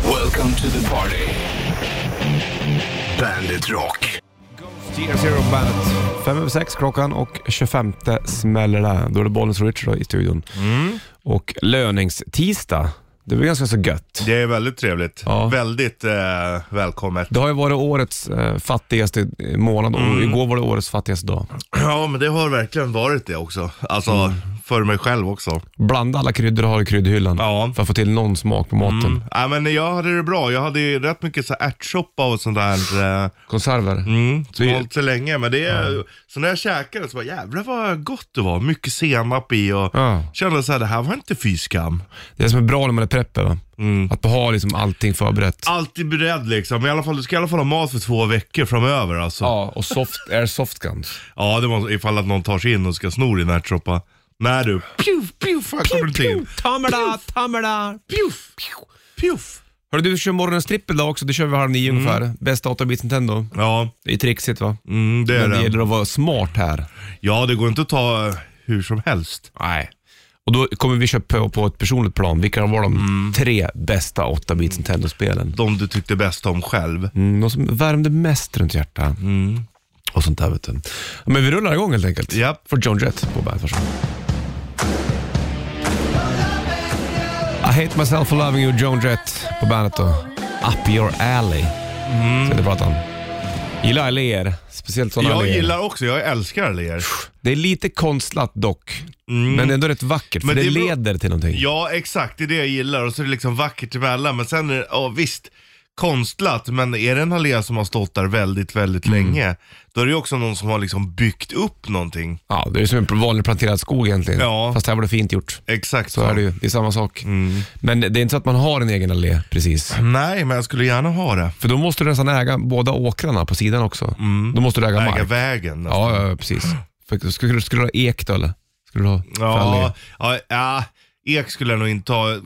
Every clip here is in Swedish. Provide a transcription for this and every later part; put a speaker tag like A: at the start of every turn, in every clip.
A: Welcome to the party. Bandit Rock.
B: Year Zero Bandet. Fem över sex klockan och 25 smäller det. Då är det Bollnäs och Richard då i studion.
C: Mm.
B: Och löningstisdag, det blir ganska så gött.
C: Det är väldigt trevligt.
B: Ja.
C: Väldigt eh, välkommet.
B: Det har ju varit årets eh, fattigaste månad och
C: Mm.
B: igår var det årets fattigaste dag.
C: Ja, men det har verkligen varit det också. Alltså, för mig själv också.
B: Blanda alla kryddor du har i kryddhyllan
C: Ja. Mm.
B: för att få till någon smak på maten.
C: Ja, men jag hade det bra. Jag hade ju rätt mycket så här ärtsoppa och sånt där. Eh,
B: Konserver.
C: mm, som
B: Det-
C: har hållit så länge. Men det är, Så när jag käkade så bara, jävlar vad gott det var. Mycket senap i och
B: Ja.
C: kände så här, det här var inte fy skam.
B: Det som är bra när man är prepper va?
C: Mm.
B: Att ha liksom allting förberett.
C: Alltid beredd liksom. I alla fall, du ska i alla fall ha mat för två veckor framöver alltså. Ja,
B: Ja, och soft, air soft guns.
C: det var ifall att någon tar sig in och ska sno din ärtsoppa. Nej du, pjuff, pjuff, här kommer det till.
B: Tamla, tamla.
C: Pjuff, pjuff, pjuff.
B: Hörru du kör morgonens trippel idag också, det kör vi halv
C: Mm.
B: nio ungefär. Bästa 8 bits Nintendo.
C: Ja,
B: Det är trixigt va?
C: mm, det är
B: Men det
C: det.
B: gäller att vara smart här.
C: Ja, det går inte att ta eh, hur som helst.
B: Nej. Och då kommer vi köpa på, på ett personligt plan, vilka var de
C: Mm.
B: tre bästa 8 bits Nintendo-spelen?
C: De du tyckte bäst om själv.
B: Mm, de som värmde mest runt hjärtat.
C: Mm.
B: Och sånt där vet du. Men vi rullar igång helt enkelt.
C: Japp.
B: För John Jett på bandet, varsågod. I hate myself for loving you, John Jett på bandet då. Up your alley. Ska det prata om. Gillar alléer, speciellt sådana
C: Mm. Jag
B: alléer.
C: gillar också, jag älskar alléer.
B: Det är lite konstlat dock, men ändå rätt vackert för
C: Mm. Men
B: det,
C: det beror-
B: leder till någonting.
C: Ja, exakt. Det är det jag gillar. Och så är det liksom vackert emellan. Men sen är det, ja visst, konstlat. Men är det en allé som har stått där väldigt, väldigt
B: Mm.
C: länge, då är det ju också någon som har liksom byggt upp någonting.
B: Ja, det är som en vanlig planterad skog egentligen.
C: Ja. Mm.
B: Fast här var det fint gjort.
C: Exakt
B: Så är det ju, det är samma sak. Men det är inte så att man har en egen allé precis.
C: Nej, men jag skulle gärna ha det.
B: För då måste du nästan äga båda åkrarna på sidan också. Då måste du äga,
C: Mm. Äga
B: mark.
C: vägen.
B: Ja, ja, ja, precis. För, skulle, skulle du ha ek då eller? Skulle du ha för allé?
C: ja, ja, ja, ek skulle jag nog inte ha.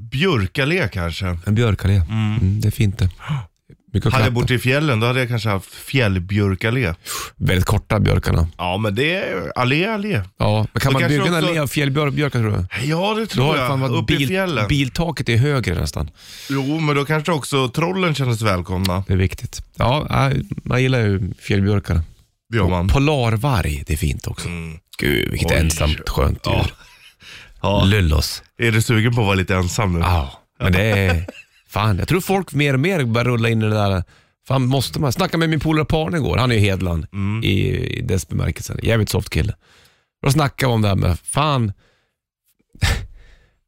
C: Björkallé kanske.
B: En björkallé. Mm, det är fint det. Mycket att
C: Hade jag
B: klappa.
C: bott i fjällen då hade jag kanske haft fjällbjörkallé.
B: Väldigt korta björkarna.
C: Ja men det är allé allé.
B: Ja, men
C: Då
B: kan man
C: kanske
B: bygga en
C: också-
B: allé av fjällbjörkar tror du?
C: Ja det
B: Då har
C: tror
B: det fan
C: jag.
B: varit
C: Uppe i
B: bil,
C: fjällen.
B: biltaket är högre nästan.
C: Jo men då kanske också trollen kändes välkomna.
B: Det är viktigt. Ja, nej, man gillar ju fjällbjörkar.
C: Det gör man.
B: Polarvarg, det är fint också. Gud, vilket
C: Mm. Oj.
B: ensamt skönt
C: Ja.
B: djur.
C: Ja.
B: Lullos.
C: Är du sugen på att vara lite ensam nu?
B: Ja, men det är... Fan, jag tror folk mer och mer börjar rulla in i det där. Fan, måste man? Snacka med min polare Parne igår. Han är ju Hedland
C: Mm.
B: i, i dess bemärkelsen. Jävligt soft kille. Då snackade vi om det här med, fan...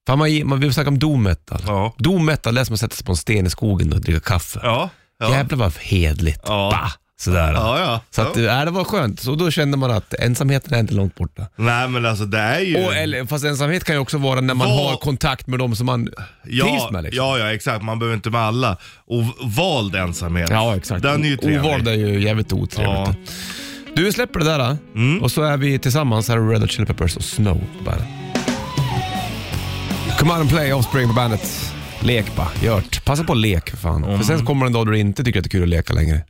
B: fan man, man vill snacka om doom metal.
C: Ja.
B: Doom metal, det är som att sätta sig på en sten i skogen och dricka kaffe.
C: Ja. Ja.
B: Jävlar vad hedligt.
C: Ja.
B: Bah, sådär.
C: Ja, ja.
B: Så att, ja. det var skönt. Så då kände man att ensamheten är inte långt borta.
C: Nej men alltså det är ju...
B: Och, eller, fast ensamhet kan ju också vara när man
C: Vad-
B: har kontakt med de som man
C: ja,
B: trivs med. Liksom.
C: ja, ja exakt. Man behöver inte med alla. Och vald ensamhet.
B: Ja, exakt.
C: Den är ju trevlig.
B: Ovald är ju jävligt otrevligt.
C: Ja. Mm.
B: Du, vi släpper det där då. och så är vi tillsammans här i Red Hot Chili Peppers och Snow på bandet. Come on and play Offspring på bandet. Lek bara, gjort. Passa på lek för fan. För
C: Mm.
B: sen kommer det en dag då du inte tycker att det är kul att leka längre.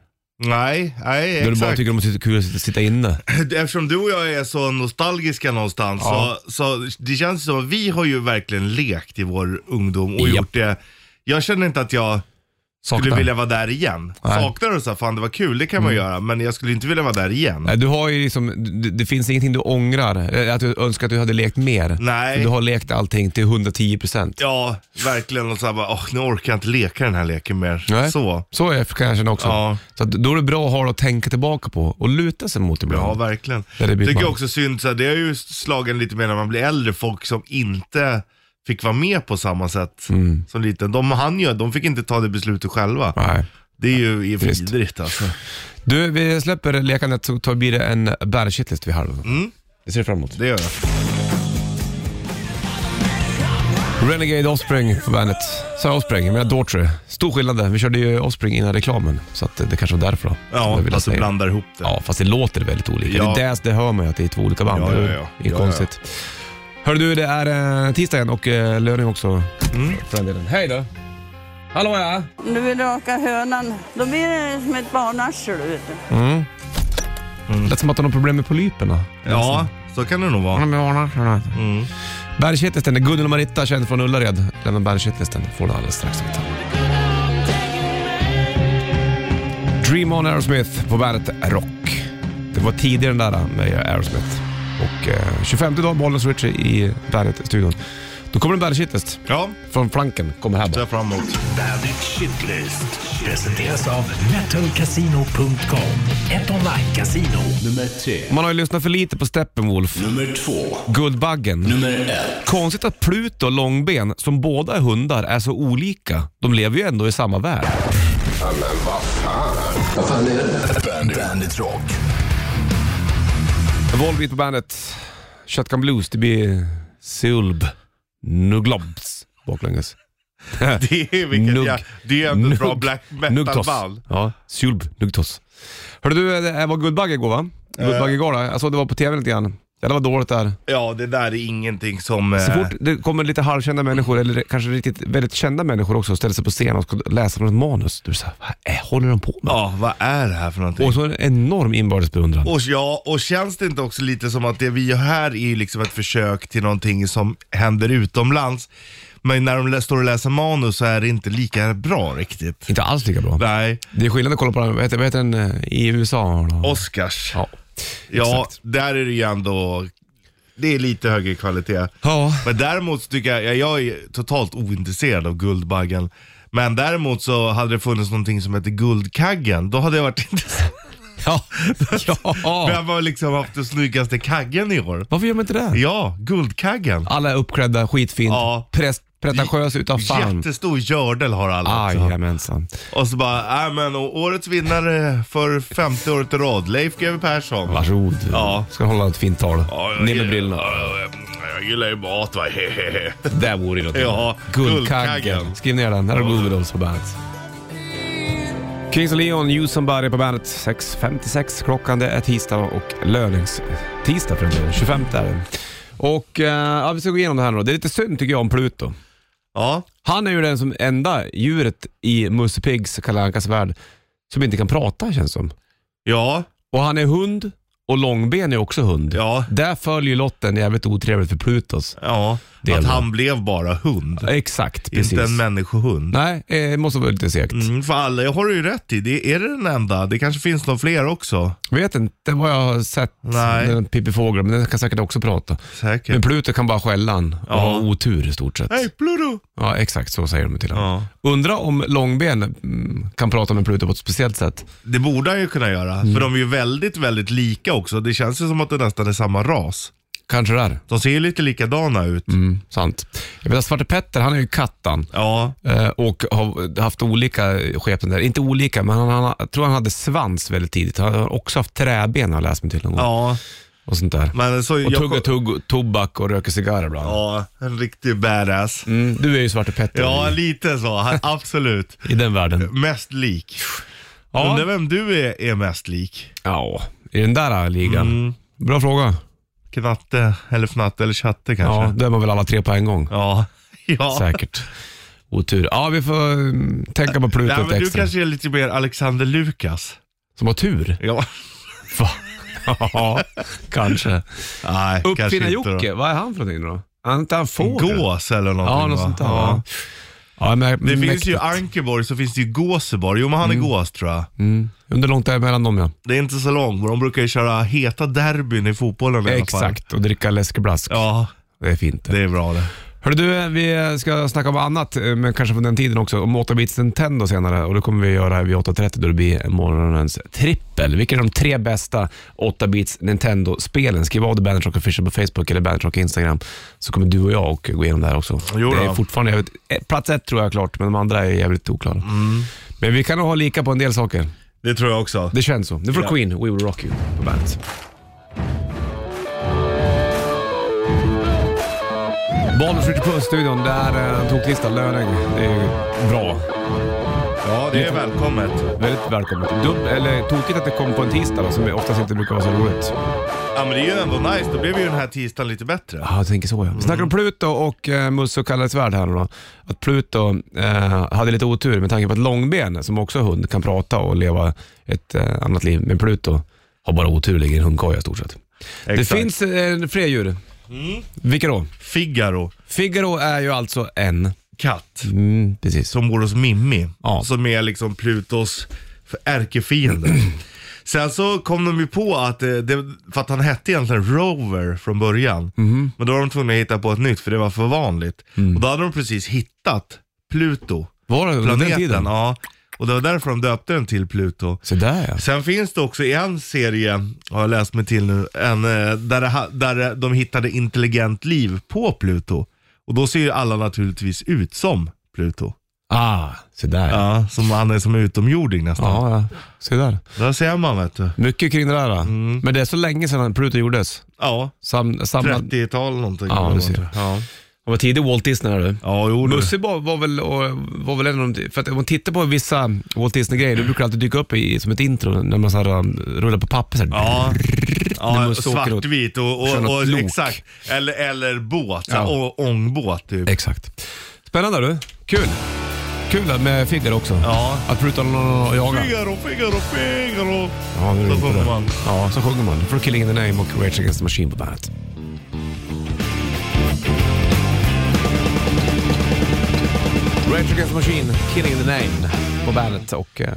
C: Nej, nej
B: Då
C: exakt.
B: du bara tycker att det är kul att sitta- sitta inne.
C: Eftersom du och jag är så nostalgiska någonstans
B: Ja.
C: så, så det känns som att vi har ju verkligen lekt i vår ungdom och
B: Japp.
C: gjort det. Jag känner inte att jag skulle
B: Saknar.
C: vilja vara där igen.
B: Nej. Mm.
C: Saknar du så här, fan det var kul, det kan man göra, men jag skulle inte vilja vara där igen.
B: Nej, Du har ju liksom, det, det finns ingenting du ångrar, eh, att du önskar att du hade lekt mer.
C: Nej.
B: För Du har lekt allting till 110 procent.
C: Ja, verkligen. Och så här bara, åh, nu orkar jag inte leka den här leken mer.
B: Nej.
C: Så.
B: Så är, kan jag känna också.
C: Ja.
B: Så att, då är det bra att ha det att tänka tillbaka på och luta sig mot ibland.
C: Ja, verkligen.
B: Ja, det blir
C: Tycker
B: man.
C: jag också synd, så här, det är ju slagen lite mer när man blir äldre, folk som inte fick vara med på samma sätt
B: Mm.
C: som liten. De, han ju, de fick inte ta det beslutet själva.
B: Nej.
C: Det är ju i-
B: Trist.
C: vidrigt alltså.
B: Du, vi släpper lekandet så tar blir det en bandshit-list vid halv.
C: Mm.
B: Det ser jag fram emot.
C: Det gör jag.
B: Renegade Offspring på bandet. Sa jag Offspring? Jag menar Daughtry. Stor skillnad där. Vi körde ju Offspring innan reklamen, så att det kanske var därför då. som jag
C: Ja,
B: ville
C: fast du
B: säga.
C: blandar ihop det.
B: Ja, fast det låter väldigt olika.
C: Ja.
B: Det, där, det hör man ju att det är två olika band.
C: Ja,
B: eller hur?
C: ja, ja.
B: Det är
C: Ja,
B: konstigt. Hörru du, det är eh, tisdag igen och eh, löning också
C: Mm.
B: för den delen. Hej då! Hallå ja!
D: Om du vill raka hönan, då blir det som ett barnarsel, vet du.
B: Lät som att han har problem med polyperna.
C: Ja, så kan det nog vara. Mm.
B: Bandshitlistan, det är Gunnel och Maritta, känd från Ullared. Lämna bandshitlistan, får du alldeles strax. Dream on Aerosmith på bandet Rock. Det var tidigare den där med Aerosmith. Och eh, 25 dag bollen Richie i bandet-studion. Då kommer en bandet
C: Ja,
B: Från flanken kommer här bara.
C: där framåt.
A: Bandit Shitlist presenteras av metalcasino.com. Ett online-casino. Nummer tre.
B: Man har ju lyssnat för lite på Steppenwolf,
A: Nummer två.
B: Guldbaggen.
A: Nummer ett.
B: Konstigt att Pluto och Långben, som båda är hundar, är så olika. De lever ju ändå i samma värld.
A: Bandit, Bandit Rock.
B: Volbeat på bandet. Shotgun Blues, det blir Sulb. Nuglobs baklänges.
C: Det är vilket
B: Nugg.
C: jag, det är ändå ett bra
B: Nugg.
C: black
B: Nuggtos.
C: metal-band.
B: Ja, Sulb, Nuggtos. Hörde du, det var Guldbagge igår va? Guldbaggegala. Jag såg det var på tv lite grann. Ja, det var dåligt där.
C: Ja, det där är ingenting som...
B: Så
C: eh,
B: fort det kommer lite halvkända människor, eller kanske riktigt väldigt kända människor också, och ställer sig på scen och ska läsa från ett manus. Du säger, vad är, håller de på med?
C: Ja, vad är det här för någonting?
B: Och så en enorm inbördes beundran.
C: Och, ja, och känns det inte också lite som att det vi gör här är ju liksom ett försök till någonting som händer utomlands. Men när de lä- står och läser manus så är det inte lika bra riktigt.
B: Inte alls lika bra.
C: Nej,
B: Det är skillnad att kolla på den, vad heter, vad heter den eh, i USA? Då?
C: Oscars. Ja,
B: Ja, exakt.
C: där är det ju ändå, det är lite högre kvalitet.
B: Ja.
C: Men däremot så tycker jag, jag, jag är totalt ointresserad av Guldbaggen. Men däremot så hade det funnits någonting som heter Guldkaggen, då hade jag varit intresserad.
B: Ja. ja.
C: Vem har liksom haft den snyggaste kaggen i år?
B: Varför gör man inte det?
C: Ja, Guldkaggen.
B: Alla är uppklädda skitfint,
C: Ja.
B: pres- pretentiösa utan fan.
C: Jättestor gördel har alla också.
B: Jajamensan.
C: Och så bara, äh, men å- årets vinnare för femte året i rad, Leif GW Persson.
B: Varsågod.
C: Ja.
B: Ska hålla ett fint tal. Ner med brillorna.
C: Ja, Jag gillar ju mat va, hehehe.
B: Där vore det något.
C: Ja,
B: Guldkaggen.
C: Guldkaggen.
B: Skriv ner den. Här har Movie Dolls på bandet. Kings of Leon, You Somebody på bandet. 6.56 klockan. Det är tisdag och lönings... Tisdag för den delen. 25 är det. Och eh, ja, vi ska gå igenom det här nu då. Det är lite synd tycker jag om Pluto.
C: Ja,
B: Han är ju den som enda djuret i Musse Piggs, Kalle Ankas värld, som inte kan prata känns som.
C: ja,
B: Och han är hund och Långben är också hund.
C: ja.
B: Där följer lotten jävligt otrevligt för Plutos.
C: ja.
B: Det är
C: Att
B: bra.
C: han blev bara hund.
B: Exakt, precis.
C: Inte en människohund.
B: Nej, eh, det måste vara lite segt.
C: Mm, för alla, jag har du ju rätt i. Det, är det den enda? Det kanske finns några fler också.
B: Vet inte vad jag har sett.
C: Nej.
B: Den Pippi Fågel, men den kan säkert också prata. Men
C: Säkert.
B: Pluto kan bara skälla han och
C: Ja.
B: ha otur i stort sett.
C: Hej Pluto!
B: Ja, exakt så säger de till honom.
C: Ja.
B: Undra om Långben mm, kan prata med Pluto på ett speciellt sätt.
C: Det borde han ju kunna göra.
B: Mm.
C: För de är ju väldigt, väldigt lika också. Det känns ju som att det nästan är samma ras.
B: Kanske där.
C: De ser ju lite likadana ut.
B: Mm, sant. Jag vet att Svarte Petter, han är ju kattan
C: Ja,
B: eh, och har haft olika skepnader. Inte olika, men han, han, jag tror han hade svans väldigt tidigt. Han har också haft träben har jag läst mig till någon gång.
C: ja.
B: Och sånt där.
C: Men så
B: Och
C: jag
B: tuggar tugg, tobak och röker cigarr ibland.
C: Ja, en riktig badass.
B: Mm, du är ju Svarte Petter
C: Ja,
B: i,
C: lite så. Han- Absolut.
B: i den världen.
C: Mest lik.
B: Ja.
C: Undrar vem du är, är mest lik?
B: Ja, i den där äh, ligan.
C: Mm.
B: Bra fråga.
C: Knatte, eller Fnatte, eller Chatte
B: Ja,
C: kanske?
B: då är man väl alla tre på en gång.
C: Ja. Ja.
B: Säkert. Otur. Ja, vi får mm, tänka på Pluto
C: Nej,
B: lite
C: men du
B: extra.
C: kanske är lite mer Alexander Lukas.
B: Som har tur.
C: Ja.
B: Va? ja, kanske.
C: Nej, kanske inte då.
B: Uppfinnar-Jocke, vad är han för någonting då? Han inte han fågel?
C: Gås eller någonting
B: Ja, något
C: va?
B: sånt där. Ja. Ja, men,
C: Det finns
B: mäktigt.
C: ju i Ankeborg så finns det ju Gåseborg. Jo men han är gås tror jag.
B: Mm. Under långt där mellan dem ja.
C: Det är inte så långt men de brukar ju köra heta derbyn i fotbollen i alla fall.
B: Exakt, och dricka läskeblask.
C: Ja,
B: Det är fint.
C: det är bra det.
B: Hörru du, vi ska snacka om annat, eh, men kanske från den tiden också, om 8-bits Nintendo senare. Och det kommer vi göra vid 8.30 då det blir morgonens trippel. Vilka är de tre bästa 8-bits Nintendo-spelen? Skriv av det Bandit Rock Official på Facebook eller Bandit Rock Instagram, så kommer du och jag och gå igenom det här också.
C: Jo då.
B: det är fortfarande jävligt, eh, plats ett tror jag är klart, men de andra är jävligt oklara.
C: Mm.
B: Men vi kan nog ha lika på en del saker.
C: Det tror jag också.
B: Det känns så. Nu får
C: Ja.
B: Queen, We Will Rock You på bandet. Bollnäs Ritchie Puss-studion, där eh, toklista löning. Det är ju bra.
C: Ja, det är välkommet.
B: Väldigt välkommet. Dub, eller tokigt att det kom på en tisdag då, som oftast inte brukar vara så roligt.
C: Ja men det är ju ändå nice, då blev ju den här tisdagen lite bättre.
B: Ja, jag tänker så ja. Vi snackar om Pluto och eh, Musse och Kalles värld här nu då. Att Pluto eh, hade lite otur med tanke på att Långben, som också är hund, kan prata och leva ett eh, annat liv. Men Pluto har bara otur, ligger i en hundkoja i stort sett.
C: Exakt. Mm.
B: Det finns eh, fler djur. Vilka då?
C: Figaro,
B: Figaro är ju alltså en.
C: katt,
B: Mm, precis.
C: som bor hos Mimmi.
B: Ja.
C: Som är liksom Plutos för ärkefiende. Sen så kom de ju på att, eh, det, för att han hette egentligen Rover från början.
B: Mhm.
C: Men då var de tvungna att hitta på ett nytt för det var för vanligt. Och då hade de precis hittat Pluto,
B: Var det Mm. under den
C: planeten.
B: tiden?
C: Ja. Och det var därför de döpte den till Pluto.
B: Så där ja.
C: Sen finns det också i en serie, har jag läst mig till nu, en, eh, där, det, ha- där de hittade intelligent liv på Pluto. Och då ser ju alla naturligtvis ut som Pluto.
B: Ah, så där ja.
C: Ja, som han är som utomjording nästan.
B: Ja, ja. Se där.
C: Där ser man vet du.
B: Mycket kring det där. då.
C: Mm.
B: Men det är så länge sedan Pluto gjordes.
C: Ja,
B: Sam, samma,
C: 30-tal någonting.
B: Ja, du ser.
C: Ja,
B: det var tidig Walt Disney där du.
C: ja jo du.
B: Musse var, var, väl, och, var väl en av de, för att om man tittar på vissa Walt Disney-grejer, då brukar det alltid dyka upp i, som ett intro när man så här, um, rullar på papper. Så här.
C: Ja,
B: När
C: ja
B: Musse åker åt-
C: svartvit och, och,
B: kör
C: och,
B: något lok.
C: exakt. Eller, eller båt,
B: Ja.
C: och, ångbåt typ.
B: Exakt. Spännande du. Kul. Kul med Figger också.
C: Ja.
B: Att Pluto har någon att jaga.
C: Figaro, Figaro, Figaro.
B: Ja, nu är det
C: Så
B: inte
C: sjunger
B: det.
C: man.
B: Ja, så sjunger man. Från Killing in the Name och Rage Against the Machine på bandet. Rage Against the Machine, Killing in the Name på bandet. Och, eh,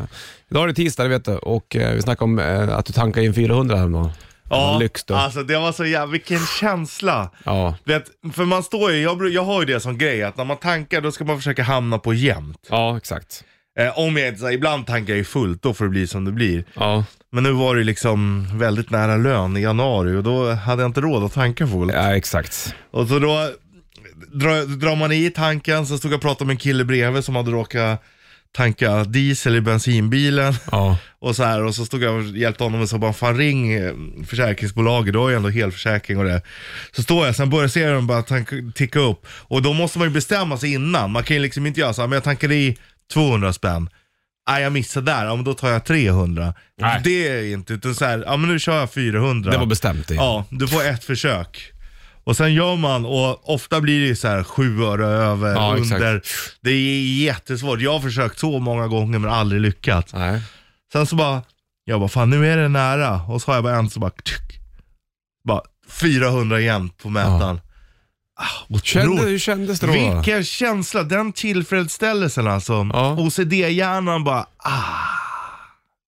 B: idag är det tisdag, det vet du. Och eh, vi snackade om eh, att du tankade in 400 häromdagen. Det var
C: Ja,
B: Lyx då.
C: alltså det var så jävla, vilken känsla.
B: Ja.
C: Du Vet, för man står ju, jag, bru- jag har ju det som grej att när man tankar då ska man försöka hamna på jämnt.
B: ja, exakt.
C: Eh, om jag inte, så här, ibland tankar jag ju fullt, då får det bli som det blir.
B: Ja.
C: Men nu var det ju liksom väldigt nära lön i januari och då hade jag inte råd att tanka fullt.
B: ja, exakt.
C: Och så då drar, drar man i tanken, så stod jag och pratade med en kille bredvid som hade råkat tanka diesel i bensinbilen.
B: Ja.
C: Och så här, och så stod jag och hjälpte honom och sa bara fan ring eh, försäkringsbolaget, du har ju ändå helförsäkring och det. Så står jag, sen börjar serien bara tank- ticka upp. Och då måste man ju bestämma sig innan. Man kan ju liksom inte göra så här, men jag tankade i 200 spänn. Nej jag missade där, ja men då tar jag 300.
B: Nej.
C: Det är inte, utan så här, ja men nu kör jag 400.
B: Det var bestämt. Ja.
C: Ja, du får ett försök. Och sen gör man och ofta blir det ju så här sju öre över,
B: Ja, exakt.
C: under. Det är jättesvårt. Jag har försökt så många gånger men aldrig lyckats.
B: Nej.
C: Sen så bara, jag bara fan nu är det nära. Och så har jag bara en så bara, tsk, bara 400 igen på mätaren. Ah,
B: Kände,
C: otroligt.
B: hur kändes det då?
C: Vilken känsla, den tillfredsställelsen alltså.
B: Ja.
C: OCD-hjärnan bara, ah,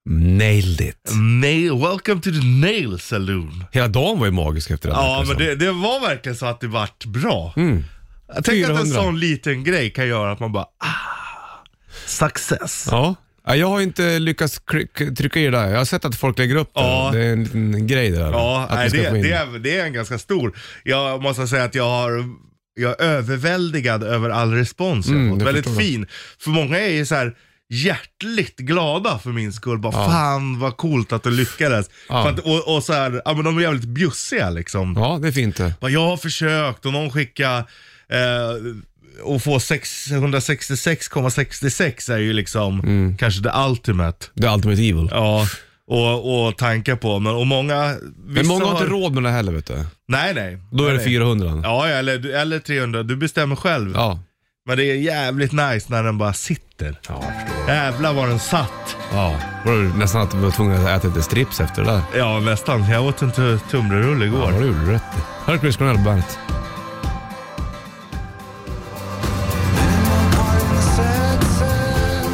B: Nailed it.
C: nail, welcome to the nail saloon.
B: Hela dagen var ju magisk efter det. här,
C: Ja,
B: liksom.
C: men det, det var verkligen så att det vart bra.
B: Mm.
C: Jag tänker att en
B: 400.
C: sån liten grej kan göra att man bara ah, success.
B: Ja. Ja, Jag har inte lyckats kry- k- trycka i det där. Jag har sett att folk lägger upp det.
C: Ja.
B: Det är en liten grej det där.
C: Ja,
B: att
C: nej,
B: vi ska
C: det,
B: få in.
C: det, är, det är en ganska stor. Jag måste säga att jag har jag är överväldigad över all respons jag
B: Mm,
C: fått.
B: jag
C: Väldigt
B: förstår det.
C: fin. För många är ju så här hjärtligt glada för min skull. Bara, Fan vad coolt att du lyckades.
B: Ja.
C: För att, och, och så här, ja, men de är jävligt bjussiga liksom.
B: Ja, det är fint det.
C: Bara, jag har försökt och någon skickar eh, och få 666,66 är ju liksom
B: Mm.
C: kanske det ultimate.
B: The Ultimate Evil.
C: Ja, och, och tankar på. Men, och många,
B: Men många har
C: har-
B: inte råd med det heller vet du.
C: Nej, nej.
B: Då är
C: nej,
B: det
C: nej.
B: 400.
C: Ja, eller, eller 300. Du bestämmer själv.
B: Ja.
C: Men det är jävligt nice när den bara sitter.
B: Ja, jag förstår.
C: Jävlar var den satt.
B: Ja. Var det nästan att du var tvungen att äta lite strips efter det där.
C: Ja, nästan. Jag åt en tu- tunnbrödsrulle
B: Ja,
C: igår.
B: det gjorde du rätt i. Här är Chris Cornell på bandet.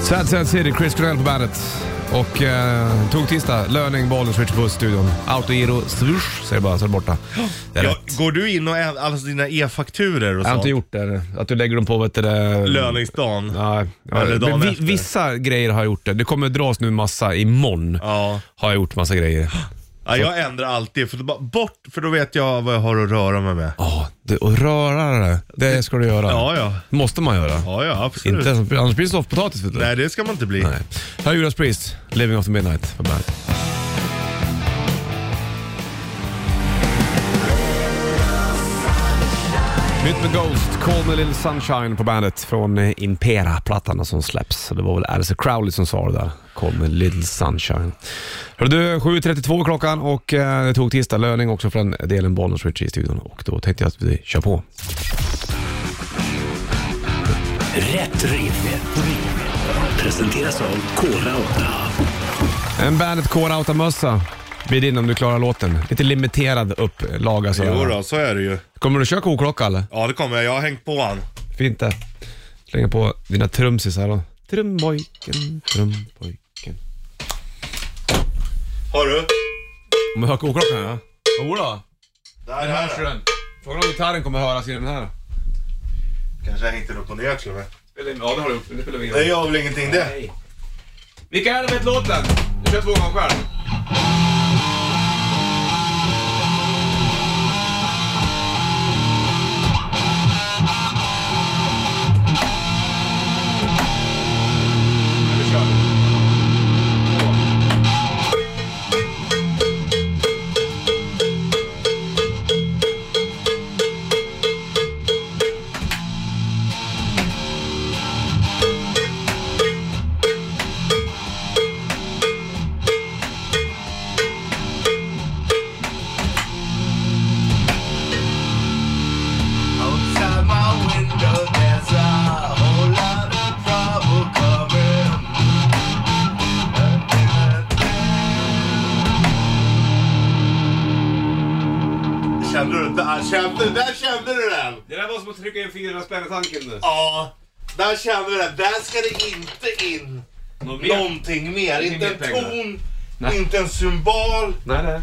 B: Sad Sad City, Chris Cornell på bandet. Och eh, tog tisdag, löning, bollen, switch på studion. Autogiro, swoosh säger jag bara så är det borta. Det är
C: Ja,
B: rätt.
C: går du in och ä- alla dina e-fakturer och
B: Jag har inte
C: sånt?
B: gjort det. Att du lägger dem på vet du, det-
C: Löningsdagen?
B: Nej, ja,
C: Eller dagen
B: men vi,
C: efter.
B: vissa grejer har jag gjort det. Det kommer dras nu massa imorgon.
C: Ja.
B: Har jag gjort massa grejer.
C: Ja, jag ändrar alltid, för då, bara bort, för då vet jag vad jag har att röra mig med.
B: Ja, det- och röra det. Det ska du göra.
C: Ja, ja.
B: måste man göra.
C: Ja, ja, absolut.
B: Inte, annars blir det soffpotatis vet du.
C: Nej, det ska man inte bli.
B: Nej. Här är Judas Priest, Living After Midnight på bandet. Nytt med Ghost, Call Me Little Sunshine på bandet från eh, Impera-plattan som släpps. Så Det var väl Alice Crowley som sa det där. Call Me Little Sunshine. Hörru du, 7.32 klockan och eh, det tog tisdag. Löning också för den delen, Bonus Richie i studion. Och då tänkte jag att vi kör på.
A: Rätt riff. Rätt riff. Presenteras av Kora 8.
B: En Bandet Core-outa-mössa blir din om du klarar låten. Lite limiterad upplaga. så.
C: Jo då, så är det ju.
B: Kommer du köra koklocka eller?
C: Ja, det kommer jag. Jag har hängt på han.
B: Fint det. Slänga på dina trumsisar då. Trumpojken, trumpojken.
C: Har du?
B: Om jag hör koklockan ja. Jodå.
C: Där,
B: Där hörs den. Frågan om gitarren kommer höras i den här.
C: Kanske jag hängde den upp och ner till och med.
B: Ja, det har du gjort. Det spelar ingen
C: Det gör väl ingenting det.
B: Nej. Vilka är det med låten? Du kör två gånger själv. Eller kör du? Två.
E: Outside my window, there's a whole lot of trouble coming.
C: Kände du inte? Kände, där kände du den!
B: Det där var som att trycka in 400 spänn i tanken nu.
C: Ja, där kände du den. Där ska det inte in
B: Någon mer?
C: någonting mer.
B: Inget
C: Inte en
B: mer pengar.
C: ton,
B: Nej.
C: inte en symbol.
B: Nej, nej.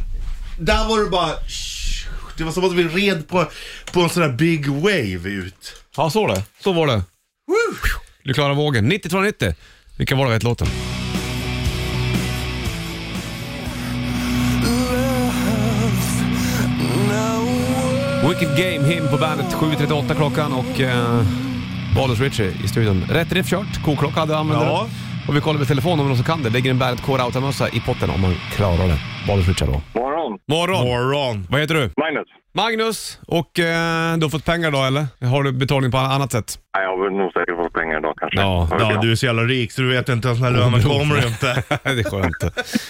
C: Där var det bara... Det var som att vi red på, på en sån där big wave ut.
B: Ja, så det. Så var det. Du klarar vågen. 90-290. Vilka var det vet låten? Wicked Game, him på bandet. 7.38 klockan och eh, Baldur's Ritchie i studion. Rätt riff kört, koklocka hade jag använt
C: Ja.
B: det. Och vi kollar med telefon om någon som kan det. Lägger en bandet Core mössa i potten om man klarar det. Baldur's Ritchie då.
F: Morgon.
B: Morgon!
C: Moron.
B: Vad heter du?
F: Magnus.
B: Magnus! Och eh, du har fått pengar idag eller? Har du betalning på annat sätt?
F: Nej, jag har väl nog säkert fått pengar idag kanske.
B: Ja,
F: Vad vet
C: Ja,
F: jag?
C: du är så jävla rik så du vet inte ens när lönen kommer inte.
B: det är skönt.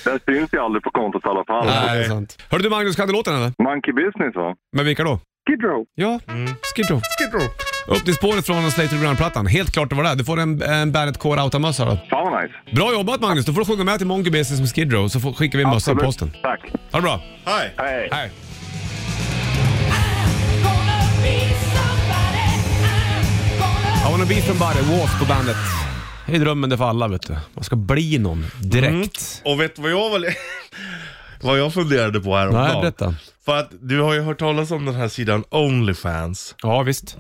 F: Det syns ju aldrig på kontot i alla fall.
B: Nej, det är sant. Hörru du Magnus, kan du låten eller?
F: Monkey business va?
B: Med vilka då?
F: Skid Row.
B: Ja, Skid Row. Upp till spåret från Slater Ground-plattan. Helt klart det var det. Du får en, en Bandet Core Outa-mössa då.
F: Fan vad nice.
B: Bra jobbat Magnus! Du får sjunga med till Monkey Business med Skid Row så får, skickar vi en mössa i
F: Absolut.
B: posten.
F: Tack.
B: Ha det bra.
C: Hej.
F: Hej.
B: Hej. I wanna be somebody, Wasp på bandet. Det är drömmen det för alla vet du. Man ska bli någon direkt.
C: Mm. Och vet du vad jag var... Vad jag funderade på häromdagen?
B: Nej, berätta.
C: För att du har ju hört talas om den här sidan Onlyfans.
B: Ja, visst.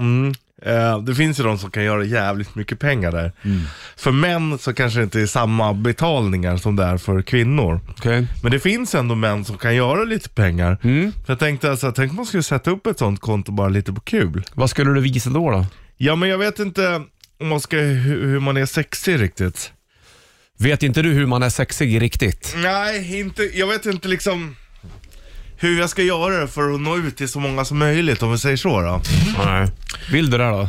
C: Eh, det finns ju de som kan göra jävligt mycket pengar där.
B: Mm.
C: För män så kanske det inte är samma betalningar som det är för kvinnor.
B: Okej.
C: Men det finns ändå män som kan göra lite pengar.
B: Mm.
C: Så jag tänkte alltså, tänk om man skulle sätta upp ett sånt konto bara lite på kul.
B: Vad skulle du visa då då?
C: Ja men jag vet inte om man ska, hur, hur man är sexig riktigt.
B: Vet inte du hur man är sexig riktigt?
C: Nej, inte, jag vet inte liksom hur jag ska göra det för att nå ut till så många som möjligt om vi säger så då.
B: Nej. Vill du det då?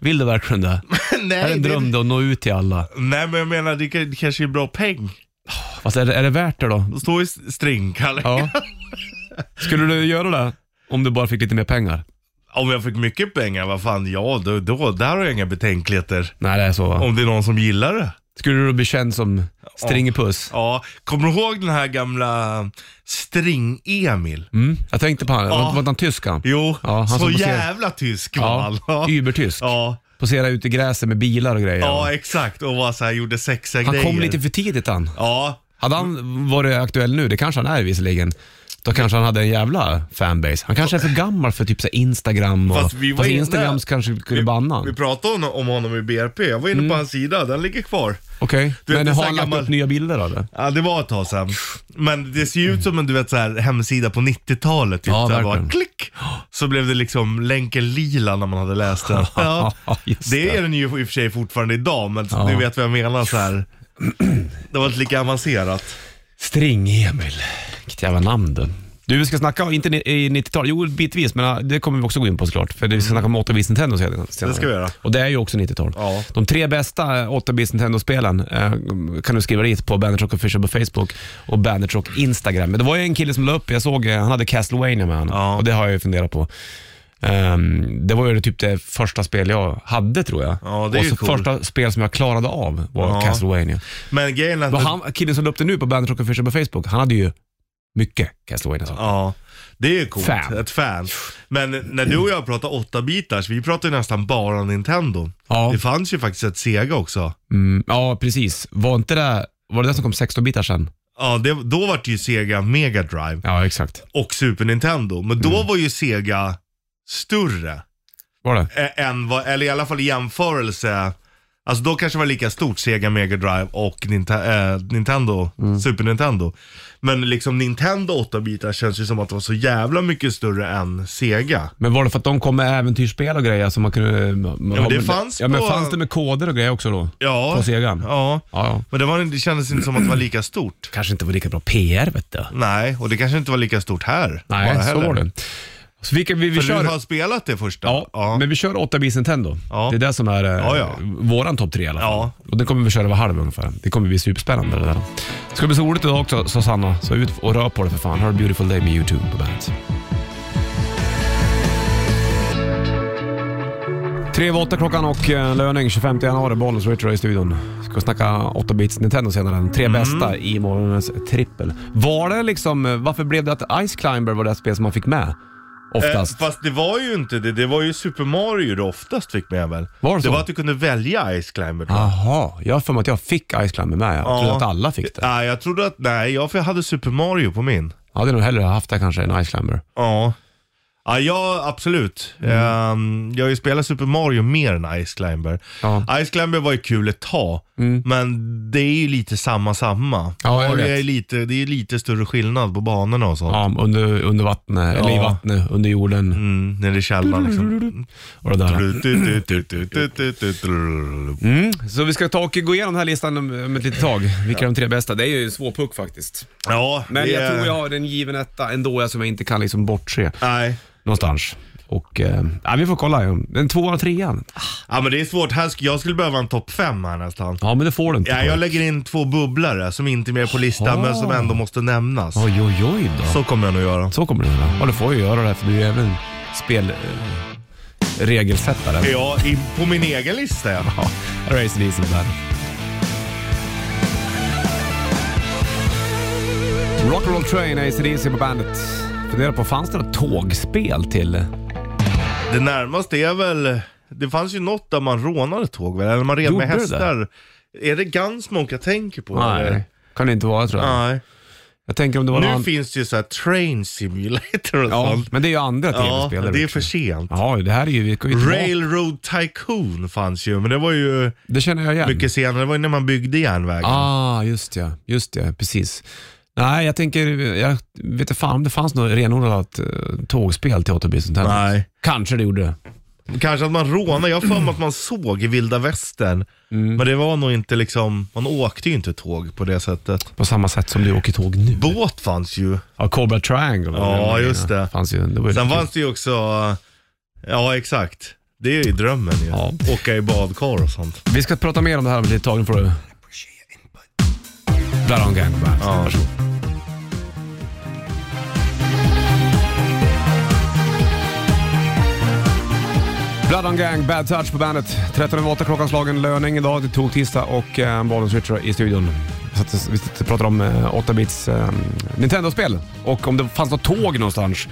B: Vill du verkligen det?
C: nej,
B: Är det en dröm då att nå ut till alla?
C: nej men jag menar det, kan- det kanske är bra peng.
B: Fast är det, är det värt det då?
C: Då står ju stringkallingar.
B: Ja. Skulle du göra det om du bara fick lite mer pengar?
C: Om jag fick mycket pengar, vad fan, ja då, då där har jag inga betänkligheter.
B: Nej, det är så va?
C: Om det är någon som gillar det.
B: Skulle du då bli känd som Stringepuss?
C: Ja, kommer du ihåg den här gamla String-Emil?
B: Mm. Jag tänkte på han, var var inte han tysk han?
C: Jo,
B: Ja, han
C: så
B: som poserar.
C: jävla tysk var
B: Ja, typ.
C: han. Ja.
B: übertysk.
C: Ja,
B: Posera ute i gräset med bilar och grejer.
C: ja, exakt. Och var så här, gjorde sexiga
B: han
C: grejer.
B: kom lite för tidigt han.
C: Ja,
B: Hade han varit aktuell nu, det kanske han är visserligen, då kanske han hade en jävla fanbase. Han kanske är för gammal för typ så här Instagram och...
C: Fast vi var
B: fast
C: inne-
B: Instagram kanske skulle banna han. Mm.
C: vi pratade om, om honom i BRP. Jag var inne på hans sida, den ligger kvar.
B: Okej,
C: Du vet,
B: men
C: det är
B: har
C: så
B: han lagt
C: gammal-
B: upp nya bilder av det?
C: Ja, det var ett tag sedan. Men det ser ju ut som en du vet, så här, hemsida på 90-talet. Typ,
B: Ja,
C: där bara
B: verkligen.
C: klick, så blev det liksom länken lila när man hade läst den. Ja.
B: Just
C: Det
B: det.
C: är den ju i och för sig fortfarande idag, men
B: Ja.
C: du vet vad jag menar så här. Det var inte lika avancerat.
B: String-Emil. Vilket jävla namn du. Du, vi ska snacka, inte ni- i 90-talet, jo bitvis, men äh, det kommer vi också gå in på såklart. För vi ska snacka om 8-bits Nintendo senare.
C: Det ska vi göra.
B: Och det är ju också 90-tal.
C: Ja.
B: De tre bästa eh, 8-bits Nintendo-spelen eh, kan du skriva dit på Bandit Rock Official på Facebook och Bandit Rock Instagram. Men det var ju en kille som la upp, jag såg, eh, han hade Castlevania med honom.
C: Ja.
B: Och det har jag ju funderat på. Ehm, det var ju typ det första spel jag hade tror jag.
C: Ja, det är
B: och
C: ju
B: så
C: cool.
B: första spel som jag klarade av var
C: Ja.
B: Castlevania.
C: Men grejen är
B: Men
C: att...
B: han, killen som la upp det nu på Bandit Rock Official på Facebook, han hade ju mycket Castlevania. Ja.
C: Ja, det är ju coolt.
B: Fan.
C: Ett fan. Men när du och jag pratar 8-bitars, vi pratar ju nästan bara Nintendo.
B: Ja.
C: Det fanns ju faktiskt ett Sega också.
B: Mm, ja, precis. Var inte det, var det det som kom 16 bitar sen?
C: Ja, det, då var det ju Sega Mega Drive
B: Ja, exakt.
C: och Super Nintendo. Men då
B: Mm.
C: var ju Sega större.
B: Var det?
C: eh, än vad, eller i alla fall i jämförelse. Alltså då kanske det var lika stort, Sega Mega Drive och Ninta- eh, Nintendo,
B: Mm.
C: Super Nintendo. Men liksom Nintendo 8-bitar känns ju som att det var så jävla mycket större än Sega.
B: Men var det för att de kom med äventyrsspel och grejer som man kunde... Ja,
C: men det fanns
B: Ja, men
C: på-
B: fanns det med koder och grejer också då?
C: Ja.
B: På Segan?
C: Ja.
B: Ja, ja.
C: Men det, var, det kändes inte som att det var lika stort.
B: Kanske inte var lika bra PR vet du.
C: Nej, och det kanske inte var lika stort här.
B: Nej,
C: bara
B: så
C: Mm. heller.
B: var det. Så vi, kan- vi, vi
C: För
B: kör...
C: du har spelat det första?
B: Ja, men vi kör 8 bits Nintendo.
C: Ja.
B: Det är det som är eh,
C: Ja, ja.
B: våran topp tre i alla fall.
C: Ja.
B: Och den kommer vi köra över halv ungefär. Det kommer bli superspännande det där. Det ska bli så roligt idag också, sa Sanna. Så ut och rör på dig för fan. Har a beautiful day med YouTube på bandet. Tre över åtta klockan och eh, löning 25 januari, Bollnäs Richard i studion. Ska snacka 8-bits Nintendo senare. De Tre
C: Mm.
B: bästa i morgonens trippel. Var det liksom, eh, varför blev det att Ice Climber var det spel som man fick med? Oftast.
C: Eh, fast det var ju inte det. Det var ju Super Mario du oftast fick med väl?
B: Var det så?
C: var att du kunde välja Ice Climber. tror jag.
B: Jaha, jag har för mig att jag fick Ice Climber med. Jag trodde
C: Ja.
B: att alla fick det.
C: Nej, jag trodde att, nej, jag, för jag hade Super Mario på min.
B: Jag hade nog hellre haft det kanske än Ice Climber.
C: Ja. Ja, ja absolut.
B: Mm.
C: Ehm, jag har ju spelat Super Mario mer än Ice Climber.
B: Ja. Mm.
C: Ice Climber var ju kul ett tag, men det är ju lite samma samma.
B: Ja, jag
C: Mario
B: vet.
C: Är lite, det är ju lite större skillnad på banorna och sånt.
B: Ja, under, under vattnet, eller i
C: Ja.
B: vattnet, under jorden
C: Mm, nere i källaren liksom.
B: och det där. Mm. Så vi ska ta och gå igenom den här listan om, om ett litet tag. Vilka är de tre bästa? Det är ju en svår puck faktiskt.
C: Ja,
B: Men
C: det
B: jag
C: är-
B: tror jag har en given etta ändå, jag som jag inte kan liksom bortse
C: Nej.
B: någonstans. Och, eh, ja, vi får kolla. ju. En tvåan och trean.
C: Ja men det är svårt. Här, sk- jag skulle behöva en topp fem här nästan.
B: Ja, men det får du inte.
C: Ja, jag lägger in två bubblare som inte är med på listan
B: Jaha.
C: men som ändå måste nämnas.
B: Oj, oj, oj då.
C: Så kommer jag nog göra.
B: Så kommer det göra. Ja, du får ju göra det här, för du är även spel... Eh, regelsättare.
C: Ja, i, på min egen lista ja.
B: Ja, här är Ace Diesel på bandet. Rock'n'roll train, ACDC på bandet. Funderar på, fanns det något tågspel till?
C: Det närmaste är väl, det fanns ju något där man rånade tåg väl? Eller man red
B: Gjorde
C: med
B: du det?
C: hästar. Är det Gunsmoke jag tänker på? eller?
B: Nej, kan det inte vara tror jag.
C: Nej.
B: Jag tänker om det var
C: Nu
B: någon...
C: finns det ju såhär train simulator och
B: Ja,
C: sånt.
B: men det är ju andra
C: Ja,
B: tv-spel.
C: det är för sent.
B: Ja, det här är ju... Vi kan ju inte vara-
C: Railroad Tycoon fanns ju, men det var ju
B: det känner jag igen.
C: mycket senare. Det var ju när man byggde järnvägen.
B: Ah, just ja. Just ja, precis. Nej, jag tänker... Jag vet inte fan om det fanns något renodlat eh, tågspel till 8
C: Nej.
B: Kanske det gjorde det.
C: Kanske att man rånade. Jag har för mig att man såg i vilda västern.
B: Mm.
C: Men det var nog inte liksom, man åkte ju inte tåg på det sättet.
B: På samma sätt som du åker tåg nu.
C: Båt fanns ju.
B: Ja, Cobra Triangle. var
C: Ja,
B: den grejen.
C: just det.
B: Fanns ju, det var ju
C: Sen
B: kul.
C: fanns det ju också, ja exakt. Det är ju drömmen ju.
B: Ja.
C: Åka i badkar och sånt.
B: Vi ska prata mer om det här om ett litet tag. Nu får du... Där har hon gang på bandet. Varsågod. Blood on Gang, Bad Touch på bandet. 13 över 8 klockan slagen, löning idag. Det tog tisdag och eh, Bollens Richard i studion. Så att vi sitter och pratar om eh, 8-bits eh, Nintendo-spel och om det fanns något tåg någonstans.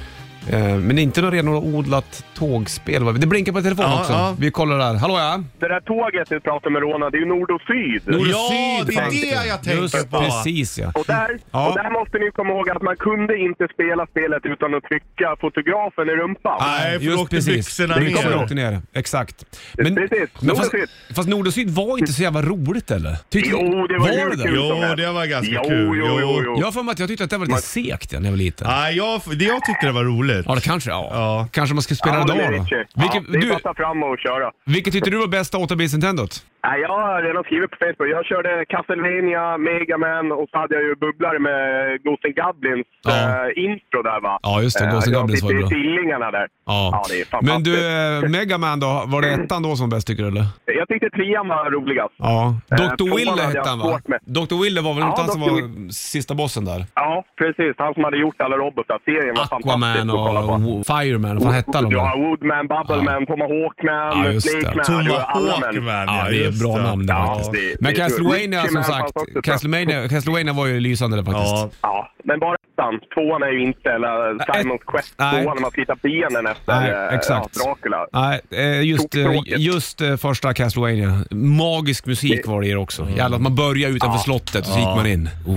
B: Eh, men inte något renodlat tågspel. va? Det blinkar på telefonen
C: Ja,
B: också.
C: ja.
B: Vi kollar där. Hallå ja!
F: Det där tåget du pratar med Rona, det är ju nord och syd.
B: Nord och
C: Ja,
B: syd
C: det är
B: fanns
C: det jag tänker
B: Just
C: på.
B: precis ja.
F: Och där,
B: Ja.
F: och där måste ni komma ihåg att man kunde inte spela spelet utan att trycka fotografen i rumpan.
C: Nej, för då
B: Just
C: åkte
B: precis.
C: byxorna
B: Det kommer
C: ner.
B: åkte ner. Exakt. Men,
F: Precis.
B: men
F: Nord
B: fast,
F: och syd.
B: fast nord och syd var inte så jävla roligt eller? Tyckte,
F: Jo, det var, hur
B: det?
F: kul som
C: Jo,
F: helst.
C: det var ganska
F: jo,
C: kul.
F: Jo, jo, jo.
B: Jag har för mig att jag tyckte att det var lite segt ja, när jag var liten.
C: Nej, jag, det jag tyckte det var roligt.
B: Ja, det kanske ja.
C: Ja.
B: Kanske man ska spela
F: Ja,
B: det
F: det är
B: idag då.
F: Richie. Ja,
B: Vilket,
F: det är bara
B: du,
F: att ta fram och köra.
B: vilket tyckte du var bästa 8-bits Nintendot?
F: Nej, jag har redan skrivit på Facebook. Jag körde Castlevania, Mega Man och så hade jag ju bubblare med Ghost and Goblins
B: Ja.
F: eh, intro där va.
B: Ja, just det. Ghost and
F: Eh,
B: Goblins var ju
F: Jag
B: bra.
F: sitter i sillingarna där. det är fantastiskt. Mm.
B: Men du, eh, Megaman då? Var det ettan då som var bäst tycker du eller?
F: Jag tyckte trean var roligast.
B: Ja. Dr.
F: Eh, tvåan
B: Wille
F: hade jag
B: hette han va?
F: svårt med.
B: Dr. Wille var väl
F: Ja,
B: inte han som
F: Dr.
B: var sista bossen där?
F: Ja, precis. Han som hade gjort alla robotar. Serien var
B: Aquaman
F: fantastisk att kolla på.
B: och Wo- Fireman, vad fan hette de
F: Ja,
B: där?
F: Woodman, Bubbleman, Tomahawkman,
B: Ja, just det.
F: Snakeman.
C: Tomahawk
F: alla
C: man.
F: män.
B: Ja, det är ett bra
C: det.
B: namn där
C: Ja,
B: faktiskt.
F: det-
B: Men
F: det-
B: Castlevania
F: Richie
B: som
F: Mann
B: sagt,
F: fanns också,
B: Castlevania, Castlevania var ju lysande där faktiskt.
C: Ja,
F: Ja, men bara ettan. Tvåan är ju inte, eller Simons
B: ett-
F: Quest,
B: nej.
F: tvåan när man tittar benen efter
B: Nej,
F: eh,
B: exakt.
F: Ja, Dracula.
B: Nej, eh, just, eh,
F: Tokstråkigt.
B: just eh, första Castlevania. Magisk musik var det i det också.
F: Mm.
B: Jävlar, att man börjar utanför slottet och så gick man in. Oh.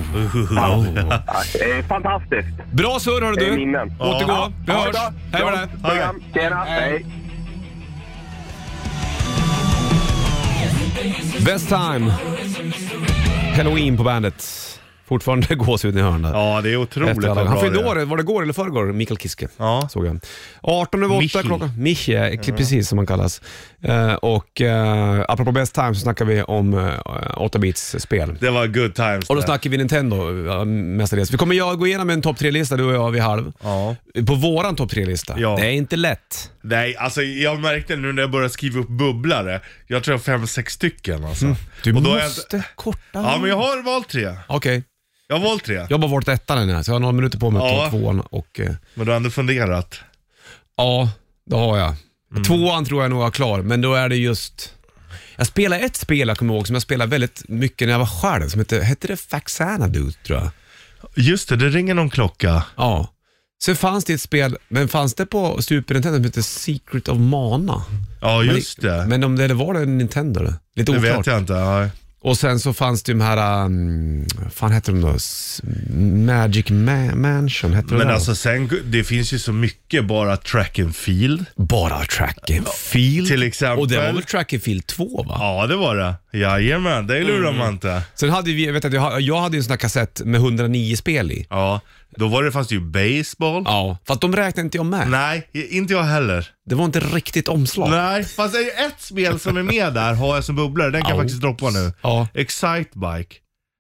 F: Ja, det är fantastiskt.
B: Bra surr hörru
F: Det är
B: du.
F: minnen.
B: Återgå. Vi
F: Ha det
B: hörs.
F: bra.
B: Hej med
F: Bra
B: dig.
F: program. Tjena, hej.
B: Best time. Halloween på bandet. Fortfarande gåshud i hörnet.
C: ja det är otroligt
B: Efter alla-
C: vad
B: Han
C: bra
B: fyllde
C: det är.
B: år, var det igår eller förrgår? Mikael Kiske.
C: Ja. Mm.
B: Såg jag. 18 över 8
C: Michi.
B: klockan. Michi, eh, precis som han kallas. Eh, och uh, apropå Best Time så snackar vi om uh, 8-bits-spel.
C: Det var good times.
B: Och då
C: det.
B: snackar vi Nintendo eh, mestadels. Vi kommer jag gå igenom en topp tre-lista du och jag vid halv.
C: Ja.
B: På våran topp tre-lista.
C: Ja.
B: Det är inte lätt.
C: Nej, alltså jag märkte nu när jag började skriva upp bubblare. Jag tror jag har fem, sex stycken alltså.
B: Mm. Du
C: Och då har jag
B: måste
C: inte-
B: korta.
C: Ja, men jag har valt tre.
B: Okej,
C: Jag har valt tre.
B: jag har bara valt ettan nu så jag har några minuter på mig att
C: Ja.
B: ta tvåan och... eh,
C: Men du har ändå funderat.
B: Ja, det har jag.
C: Mm.
B: Tvåan tror jag nog är klar, men då är det just... Jag spelade ett spel jag kommer ihåg som jag spelade väldigt mycket när jag var själv, som hette, hette det Faxana du tror jag.
C: Just det, det ringer någon klocka.
B: Ja. Sen fanns det ett spel, men fanns det på Super Nintendo som hette Secret of Mana?
C: Ja, just det.
B: Men om det eller var det Nintendo? eller? Lite
C: det
B: oklart.
C: vet jag inte. Ja.
B: Och sen så fanns det ju de här, um, vad fan hette de då? S- Magic Ma- Mansion, hette det
C: Men
B: där?
C: alltså sen, det finns ju så mycket bara track and field.
B: Bara Track and Field.
C: Till exempel.
B: Och det var väl Track and Field 2 va?
C: Ja, det var det. Jajamän, det lurar
B: Mm.
C: man inte.
B: Sen hade vi, jag vet att jag, jag hade ju en sån här kassett med 109 spel i.
C: Ja, då var det, fanns det ju baseball.
B: Ja. Fast de räknade inte jag med.
C: Nej, inte jag heller.
B: Det var inte riktigt omslag.
C: Nej, fast det är ju ett spel som är med där har jag som bubblare. Den kan jag
B: Ouch.
C: faktiskt droppa nu.
B: Ja.
C: Excitebike.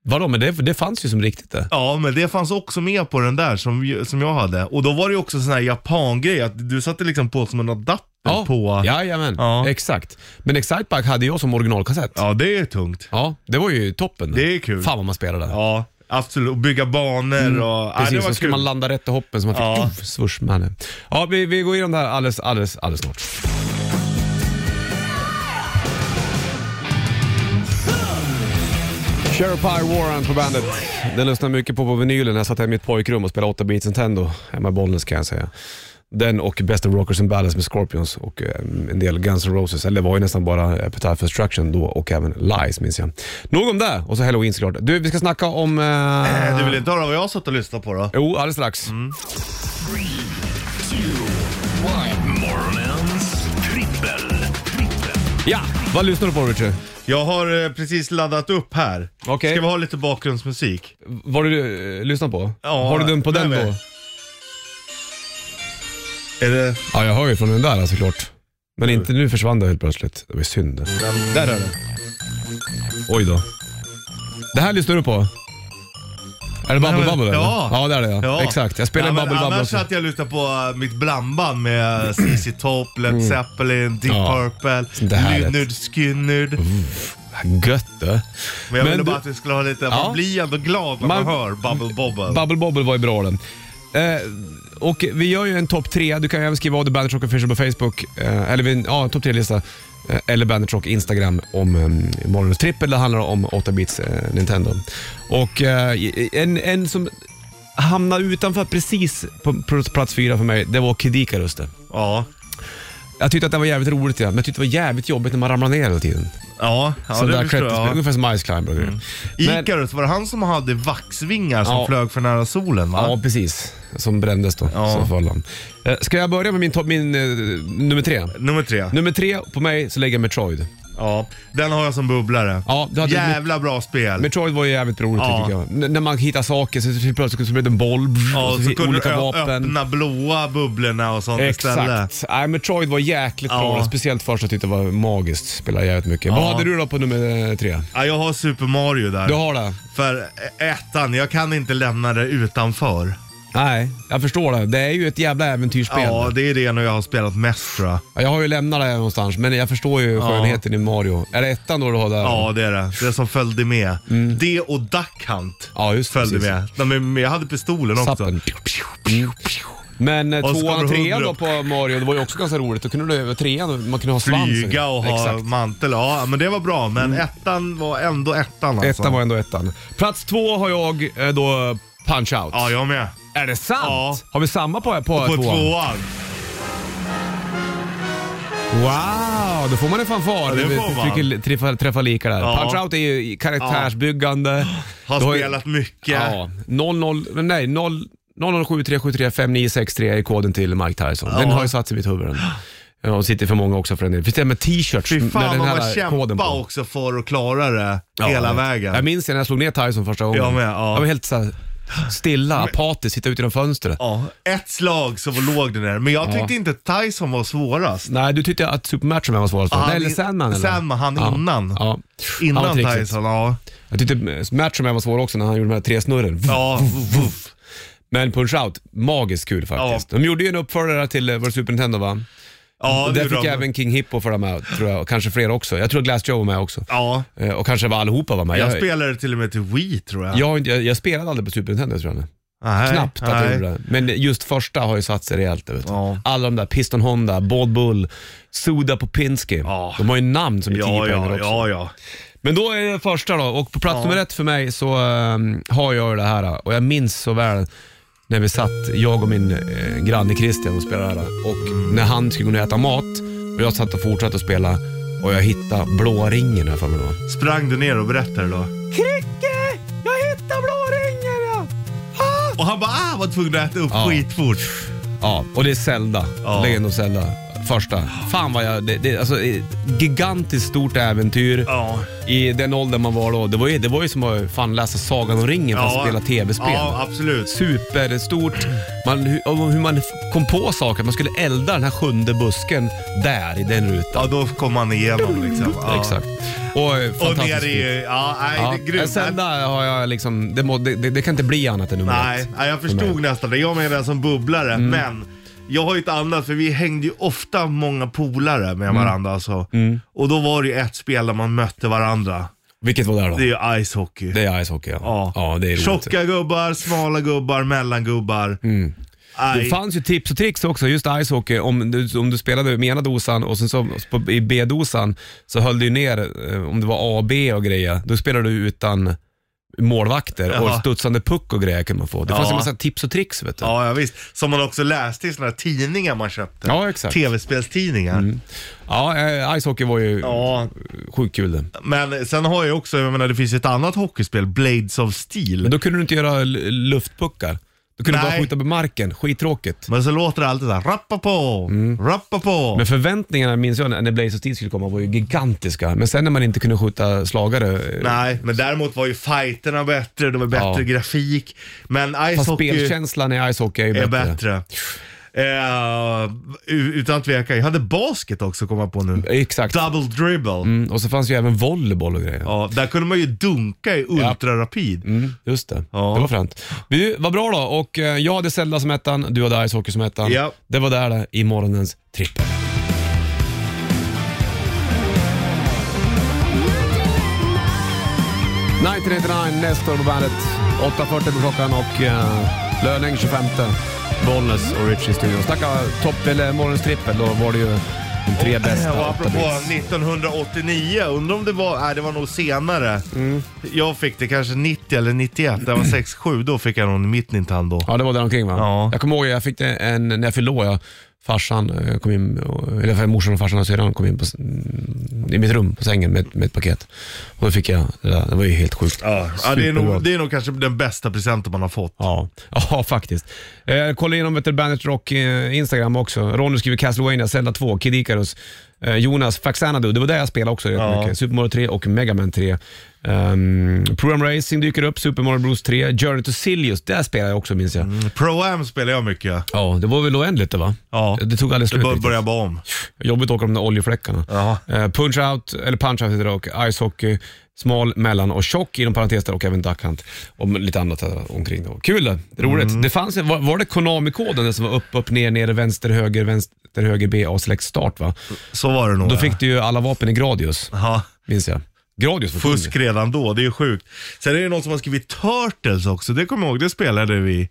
B: Vadå, men det, det fanns ju som riktigt det.
C: Ja, men det fanns också med på den där som, ju- som jag hade. Och då var det ju också sån här japangrej att du satte liksom på som en adapter på...
B: Jajamän,
C: Ja.
B: exakt. Men Excitebike hade jag som originalkassett. Ja.
C: Ja, det är tungt.
B: det var ju toppen.
C: Det är kul.
B: Fan vad man spelade. Ja,
C: Ja, absolut. Och bygga banor och... Ja,
B: Mm. Precis,
C: det
B: så
C: var
B: skulle
C: kul.
B: man landa rätt i hoppen så man fick
C: Ja.
B: ja. svurs med henne. Ja, vi, vi går igenom det här alldeles, alldeles, alldeles snart. Sheriff Pie Warren på bandet. Den lyssnade mycket på på vinylen när jag satt hemma i mitt pojkrum och spelade 8-bits Nintendo hemma i Bollnäs kan jag säga. Den och Best of Rockers and Ballads med Scorpions och eh, en del Guns N' Roses. Eller det var ju nästan bara Epitaph for Destruction då och även Lies minns jag. Nog om det och så Halloween såklart. Du, vi ska snacka om... eh,
C: Du vill inte höra vad jag har suttit och lyssnat på då?
B: Jo, alldeles strax.
C: Mm.
A: Morgonens trippel. trippel.
B: Ja, vad lyssnar du på Richard?
C: Jag har eh, precis laddat upp här.
B: Okej.
C: Ska vi ha lite bakgrundsmusik?
B: Vad du eh, lyssnar på?
C: Ja,
B: Har du den på
C: nej,
B: den
C: men-
B: då?
C: Är det...
B: Ja, jag hör ju från den där såklart. Men
C: Mm.
B: inte nu försvann det helt plötsligt. Det var ju synd.
C: Där är den.
B: Oj då. Det här lyssnar du på? Är det Bubble
C: Nej, men-
B: Bubble? eller?
C: Ja.
B: ja det är det ja.
C: Ja.
B: Exakt, jag spelar
C: Ja, men
B: Bubble Bubble
C: Annars
B: också.
C: satt jag och lyssnade på eh, mitt blandband med ZZ Top, Led Zeppelin, Deep
B: Mm. Ja. Sånt där
C: Purple,
B: härligt.
C: Lynyrd Skynyrd.
B: Mm. Gött du.
C: Men jag ville
B: du-
C: bara att vi skulle ha lite,
B: Ja.
C: man blir ändå glad när
B: Man-
C: man, hör Bubble Bobble.
B: Bubble Bobble var ju bra den. Eh, och vi gör ju en topp tre. Du kan ju även skriva av det Bandit Rock Official på Facebook, eh, eller vi- ja, topp tre-lista, eh, eller Bandit Rock Instagram om eh, morgonens trippel. Det handlar om 8-bits eh, Nintendo. Och eh, en, en som hamnade utanför precis på på plats fyra för mig, det var Kid Icarus det.
C: ja.
B: Jag tyckte att det var jävligt roligt, ja, men jag tyckte det var jävligt jobbigt när man ramlade ner hela tiden.
C: Ja, ja
B: Sån
C: det
B: där
C: förstår jag.
B: klätterspel,
C: Ja.
B: Ungefär som Ice Climber och grejer. Men-
C: Icarus, var det han som hade vaxvingar som
B: Ja.
C: flög för nära solen va?
B: Ja, precis. Som brändes då.
C: Ja.
B: Så föll han. Eh, Ska jag börja med min, topp- min eh, nummer tre?
C: Nummer tre.
B: Nummer tre på mig så lägger jag Metroid.
C: ja. Den har jag som bubblare.
B: Ja, du hade-
C: Jävla bra spel.
B: Metroid var ju jävligt roligt
C: Ja.
B: tycker jag. N- när man hittar saker så typ plötsligt så blev det en boll brr,
C: ja,
B: och
C: och
B: så,
C: så
B: fick
C: kunde du
B: olika
C: ö-
B: vapen.
C: öppna blåa bubblorna och sånt istället.
B: Exakt. Nej, Metroid var jäkligt
C: Ja.
B: bra. Speciellt första jag tyckte det var magiskt. Spelade jävligt mycket. Vad
C: Ja.
B: hade du då på nummer eh, tre?
C: Ja, jag har Super Mario där.
B: Du har det?
C: För e- ettan, jag kan inte lämna det utanför.
B: Nej, jag förstår det. Det är ju ett jävla äventyrsspel.
C: Ja, det är det nog jag har spelat mest tror jag.
B: Jag har ju lämnat det någonstans, men jag förstår ju skönheten i Mario. Är det ettan då du har där?
C: Ja, det är det. Det som följde med. Det och Duck Hunt
B: Mm. Ja, just
C: följde
B: precis.
C: med. Nej, men jag hade pistolen också.
B: Zappen. Men eh,
C: Och så
B: tvåan och
C: kommer
B: trean
C: hundra.
B: då på Mario, det var ju också ganska roligt. Då kunde du över trean, man kunde ha svansen.
C: Flyga och ha
B: Exakt. Mm.
C: mantel. Ja, men det var bra. Men ettan var ändå ettan alltså.
B: Ettan var ändå ettan. Plats två har jag eh, då Punch Out.
C: Ja, jag med.
B: Är det sant?
C: Ja.
B: Har vi samma på, på,
C: På
B: tvåan?
C: tvåan.
B: Wow, då får man en fanfar.
C: det
B: Vi
C: får man.
B: fick träffa, träffa lika där.
C: Ja.
B: Punch-Out är ju karaktärsbyggande.
C: Har
B: Du ju-
C: spelat mycket.
B: Ja, 00, nej 0, 0073735963 är koden till Mike Tyson. Den
C: Ja.
B: har ju satt i mitt huvud. den. Ja, Och sitter för många också för den delen. Finns det med t-shirts
C: Fy
B: med
C: fan
B: Mm, den
C: vad
B: här
C: man kämpade
B: koden på?
C: också för att klara det
B: Ja,
C: hela
B: jag vet.
C: vägen.
B: Jag minns det när jag slog ner Tyson första gången.
C: Jag med, ja.
B: Jag var helt så här stilla, apatisk, sitta ute genom fönstret.
C: Ja, ett slag så låg den där. Men jag tyckte inte Tyson var svårast.
B: Nej, du tyckte att Supermatchen var svårast.
C: Ja,
B: nej,
C: han
B: eller
C: in-
B: Sandman eller?
C: Sandman, han
B: Ja.
C: innan.
B: Ja. Han var
C: Innan
B: trixigt.
C: Tyson, ja.
B: Jag tyckte Matchman var svår också när han gjorde de här tre snurren.
C: Ja, vuff, vuff.
B: Men Punch-Out, magiskt kul faktiskt. De gjorde ju en uppföljare till eh, vår Super Nintendo va?
C: ja
B: och
C: det
B: där
C: gjorde
B: fick
C: de.
B: jag även King Hippo för med, tror jag. Och kanske fler också. Jag tror Glass Joe var med också.
C: Ja,
B: Eh, Och kanske var allihopa var med.
C: jag spelade till och med till Wii tror jag.
B: jag, har inte- jag, jag spelade aldrig på Super Nintendo tror jag.
C: Nej,
B: Knappt att jag
C: nej.
B: gjorde det. Men just första har ju satt sig rejält. Vet du.
C: Ja.
B: Alla de där, Piston Honda, Bald Bull, Suda Popinski.
C: Ja.
B: De har ju namn som är 10
C: Ja,
B: poäng
C: ja,
B: också.
C: ja, ja.
B: Men då är det första då och på plats nummer ett för mig så ehm, har jag ju det här och jag minns så väl när vi satt, jag och min eh, granne Christian och spelade det här
C: Mm.
B: och när han skulle gå ner och äta mat och jag satt och fortsatte att spela och jag hittade blåa ringen här för mig då.
C: Sprang du ner och berättade då?
B: Kricke! Jag hittade blåa ringen!
C: Och han bara ah, var tvungen att äta upp
B: Ja.
C: skitfort.
B: Ja, och det är Zelda.
C: Ja.
B: Legend of Zelda. Första. Fan vad jag... Det, det, alltså, eh, gigantiskt stort äventyr.
C: Ja.
B: I den åldern man var då. Det var ju, det var ju som att fan läsa Sagan om ringen fast
C: Ja.
B: spela tv-spel.
C: Ja, absolut.
B: superstort. Man, hur, och hur man kom på saker, att man skulle elda den här sjunde busken där i den rutan.
C: Ja, då kom han igenom liksom. Ja.
B: Exakt. Och, eh,
C: Och
B: fantastiskt
C: ner i, ja, nej,
B: Ja.
C: det är grymt.
B: Sen där har jag liksom, det, må, det, det, det kan inte bli annat än nummer
C: Nej,
B: ett.
C: nej, jag
B: för
C: förstod
B: mig. Mm.
C: nästan det. Jag menar den som bubblare, men jag har ju ett annat, för vi hängde ju ofta många polare
B: Mm.
C: med varandra alltså. Och då var det ju ett spel där man mötte varandra.
B: Vilket var det då?
C: Det är ju icehockey.
B: Det är ishockey ja.
C: Ja.
B: ja det är roligt.
C: Tjocka gubbar, smala gubbar, mellangubbar. Mm.
B: Det fanns ju tips och tricks också, just ishockey. Om du, om du spelade med ena dosan och sen så på, i B-dosan så höll du ju ner, eh, om det var A, B och grejer, då spelade du utan målvakter och
C: Ja.
B: studsande puck och grejer kunde man få. Det fanns ju
C: Ja.
B: massa tips och tricks vet du.
C: Ja, ja, visst. Som man också läste i sådana här tidningar man köpte.
B: Ja, exakt. Mm.
C: Tv-spelstidningar.
B: Ja, eh, ishockey var ju
C: Ja,
B: sjukt kul det.
C: men sen har jag också, jag menar det finns ju ett annat hockeyspel, Blades of Steel.
B: Men då kunde du inte göra l- luftpuckar. Då kunde du bara
C: Nej.
B: skjuta på marken, skittråkigt.
C: Men så låter det alltid såhär, rappa på, rappa på.
B: Mm. Men förväntningarna minns jag när när Blaze of Steel skulle komma var ju gigantiska. Men sen när man inte kunde skjuta slagare, eh,
C: Nej, men däremot var ju fighterna bättre, det var bättre
B: Ja.
C: grafik. Men
B: fast
C: ishockey
B: spelkänslan i ishockey är ju
C: är
B: bättre.
C: bättre. Eh, u- utan tvekan. Jag hade basket också komma på nu.
B: Exakt.
C: Double dribble.
B: Mm, och så fanns ju även volleyboll och grejer.
C: Ja, där kunde man ju dunka i ultrarapid.
B: Mm, just det,
C: Ja.
B: det var fränt. Du, vad bra då. Och eh, jag hade Zelda som ettan, du hade ishockey som ettan.
C: Ja.
B: Det var där det, i morgonens trippel. Nestor på bandet. 8.40 på klockan och eh, Löning 25. Bollnäs och Richie i studion. Snacka topp eller morgonens trippel, då var det ju de tre bästa.
C: Och
B: åtta
C: apropå
B: bits.
C: 1989, undrar om det var, nej det var nog senare.
B: Mm.
C: Jag fick det kanske 90 eller 91, det var 6-7, då fick jag någon mitt Nintendo.
B: Ja, det var där omkring va?
C: Ja.
B: Jag kommer ihåg, jag fick det en, när jag fyllde år, jag, farsan eh, kom in, och- eller morsan och farsan och syrran kom in på, s- mm, i mitt rum på sängen med, med ett paket. Och då fick jag det där, det var ju helt sjukt.
C: Ja, ja det, är
B: Superbra.
C: nog, det är nog kanske den bästa presenten man har fått.
B: Ja, ja faktiskt. Eh, kolla igenom vet du, Bandit Rock eh, Instagram också. Ronny skriver Castlevania, Zelda 2, Kid Icarus, eh, Jonas Faxanadu, det var där jag spelade också rätt
C: Ja.
B: mycket. Super Mario 3 och Mega Man 3. Um, Program Racing dyker upp, Super Mario Bros 3, Journey to Silius, där spelade jag också minns jag.
C: Pro-Am spelar jag mycket.
B: Ja, det var väl oändligt det va?
C: Ja.
B: Det tog aldrig
C: Det
B: slut.
C: bör
B: riktigt.
C: börja bara om.
B: Jobbigt att åka de där oljefläckarna.
C: Ja.
B: Eh, punch out, eller punch out heter det och icehockey, smal, mellan och tjock inom parentes där och även duckhunt och lite annat där omkring. Då. Kul det, roligt.
C: Mm.
B: Det fanns, ju- var, var det Konami-koden den som var upp, upp, ner, ner, vänster, höger, vänster, höger, B, A, select, start va?
C: Så var det nog.
B: Då
C: ja.
B: fick du ju alla vapen i Gradius,
C: Ja,
B: minns jag. Gradius var
C: fusk
B: kung.
C: redan då, det är ju sjukt. Sen är det någon som har skrivit Turtles också, det kommer jag ihåg, det spelade vi.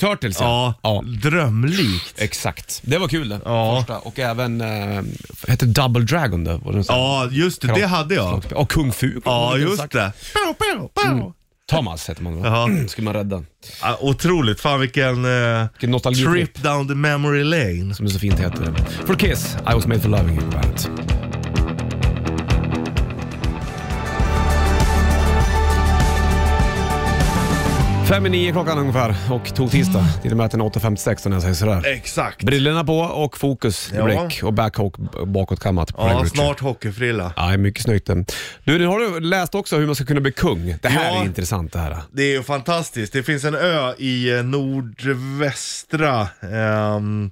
B: Turtles
C: Ja,
B: ja.
C: drömlikt.
B: Exakt. Det var kul det.
C: Ja.
B: Första. Och även, eh, hette Double Dragon det? Var det en sån-
C: Ja, just det. Det hade jag.
B: slagspel? Ja, Kung Fu.
C: Ja, just
B: Exakt.
C: det. Pow, pow, pow.
B: Thomas hette man va?
C: Ja.
B: Skulle man rädda.
C: Ja, Otroligt. Fan vilken eh,
B: Vilken nostalgitripp.
C: trip down the memory lane.
B: Som det så fint heter. For Kiss, I was made for loving you på bandet. Fem i nio klockan ungefär och tog tisdag. Till och med att den är 8.56 när jag säger sådär.
C: Exakt.
B: Brillorna på och fokus i
C: Ja.
B: blick och backhawk bakåtkammat. på Ray
C: Ja,
B: Richard.
C: snart hockeyfrilla.
B: Ja, mycket snyggt. Du, nu har du läst också hur man ska kunna bli kung. Det här
C: Ja.
B: är intressant det här.
C: Det är ju fantastiskt. Det finns en ö i eh, nordvästra ehm,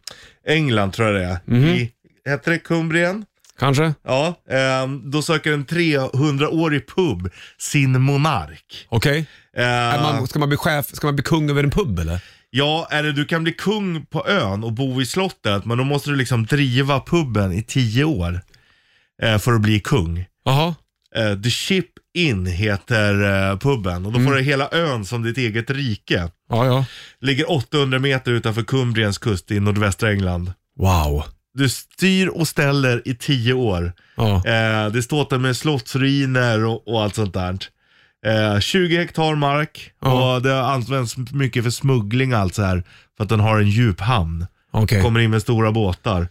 C: England tror jag det är. I, heter det Cumbrien?
B: Kanske?
C: Ja, ehm, då söker en 300-årig pub sin monark.
B: Okej. Är
C: Ehm,
B: man- Ska man bli chef, ska man bli kung över en pub eller?
C: Ja, eller du kan bli kung på ön och bo i slottet, men då måste du liksom driva puben i tio år eh, för att bli kung.
B: Jaha.
C: Eh, The Ship Inn heter eh, puben och då får du hela ön som ditt eget rike.
B: Ja, ja.
C: Ligger 800 meter utanför Cumbriens kust i nordvästra England.
B: Wow.
C: Du styr och ställer i tio år.
B: Ja.
C: Eh, det ståtar med slottsruiner och, och allt sånt där. Eh, 20 hektar mark
B: Ja.
C: och det används mycket för smuggling och allt så här. För att den har en djup hamn.
B: Okej.
C: Kommer in med stora båtar.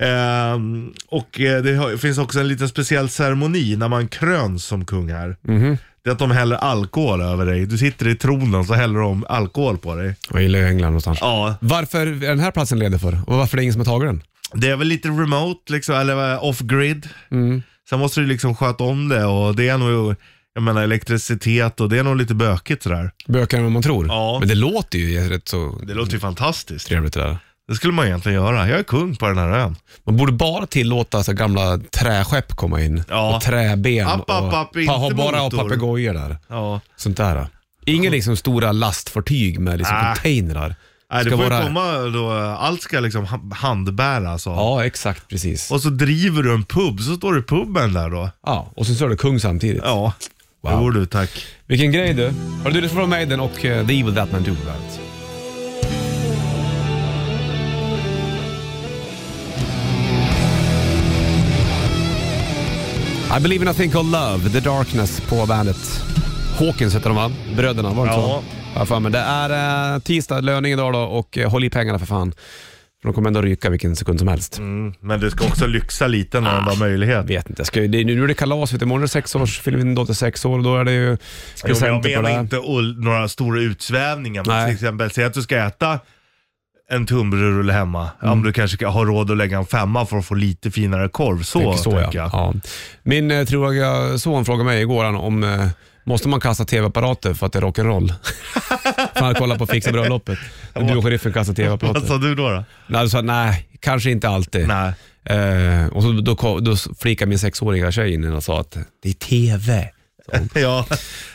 C: Ehm, och eh, det har- finns också en liten speciell ceremoni när man kröns som kung här. Det är att de häller alkohol över dig. Du sitter i tronen så häller de alkohol på dig.
B: Jag gillar ju England någonstans.
C: Ja,
B: Varför är den här platsen ledig för? Och varför är det ingen som har tagit den?
C: Det är väl lite remote liksom, eller eh, off-grid. Sen måste du liksom sköta om det och det är nog, jag menar elektricitet och det är nog lite bökigt sådär.
B: Bökigare än vad man tror.
C: Ja.
B: Men det låter ju rätt så
C: Det låter ju fantastiskt.
B: trevligt det där.
C: Det skulle man egentligen göra. Jag är kung på den här ön.
B: Man borde bara tillåta så gamla träskepp komma in.
C: Ja.
B: Och träben.
C: App, app, app,
B: och
C: inte
B: ha bara och
C: motor.
B: papegojor där.
C: Ja.
B: Sånt där. Inga liksom stora lastfartyg med liksom
C: Ah.
B: containrar.
C: Nej, det
B: Ska
C: får ju
B: vara-
C: komma då, eh, allt ska liksom ha- handbäras och,
B: Ja, exakt precis.
C: och så driver du en pub, så står du i puben där då.
B: ja, och sen så är du kung samtidigt.
C: Ja,
B: Wow.
C: det borde du tack.
B: Vilken grej du. Har du lyssnat på Maiden och eh, The Evil That Man Do på bandet. I believe in a thing called love, the darkness på bandet. Hawkins heter de va? Bröderna, var det inte
C: Ja.
B: så? Har jag för mig. Det är eh, tisdag, löning idag då och eh, håll i pengarna för fan. För de kommer ändå ryka vilken sekund som helst.
C: Mm, men du ska också lyxa lite när du har möjlighet.
B: Jag vet inte, jag ska, ju- det, nu är det kalas. Vet du. Imorgon är det sexårsfilmen, dotter sex år och då är det ju
C: Jo, men
B: presenter
C: jag
B: på det.
C: menar
B: här.
C: inte ull- några stora utsvävningar. Men
B: Nej.
C: till exempel, säg att du ska äta en tunnbrödsrulle hemma. Om du kanske har råd att lägga en femma för att få lite finare korv. Så,
B: Tänker så,
C: tänker
B: ja.
C: jag.
B: Ja. Min eh, troga son frågade mig igår han, om eh, måste man kasta tv-apparater för att det är rock'n'roll? för han kollade på Fixa bröllopet. Men Du och sheriffen kastar
C: Vad
B: tv-apparater.
C: sa du då? då?
B: Nej, du sa nej, kanske inte alltid.
C: Alltså- Nej.
B: Eh, och så, då, ko- då flikade min sexåriga tjej in och sa att det är tv.
C: Ja,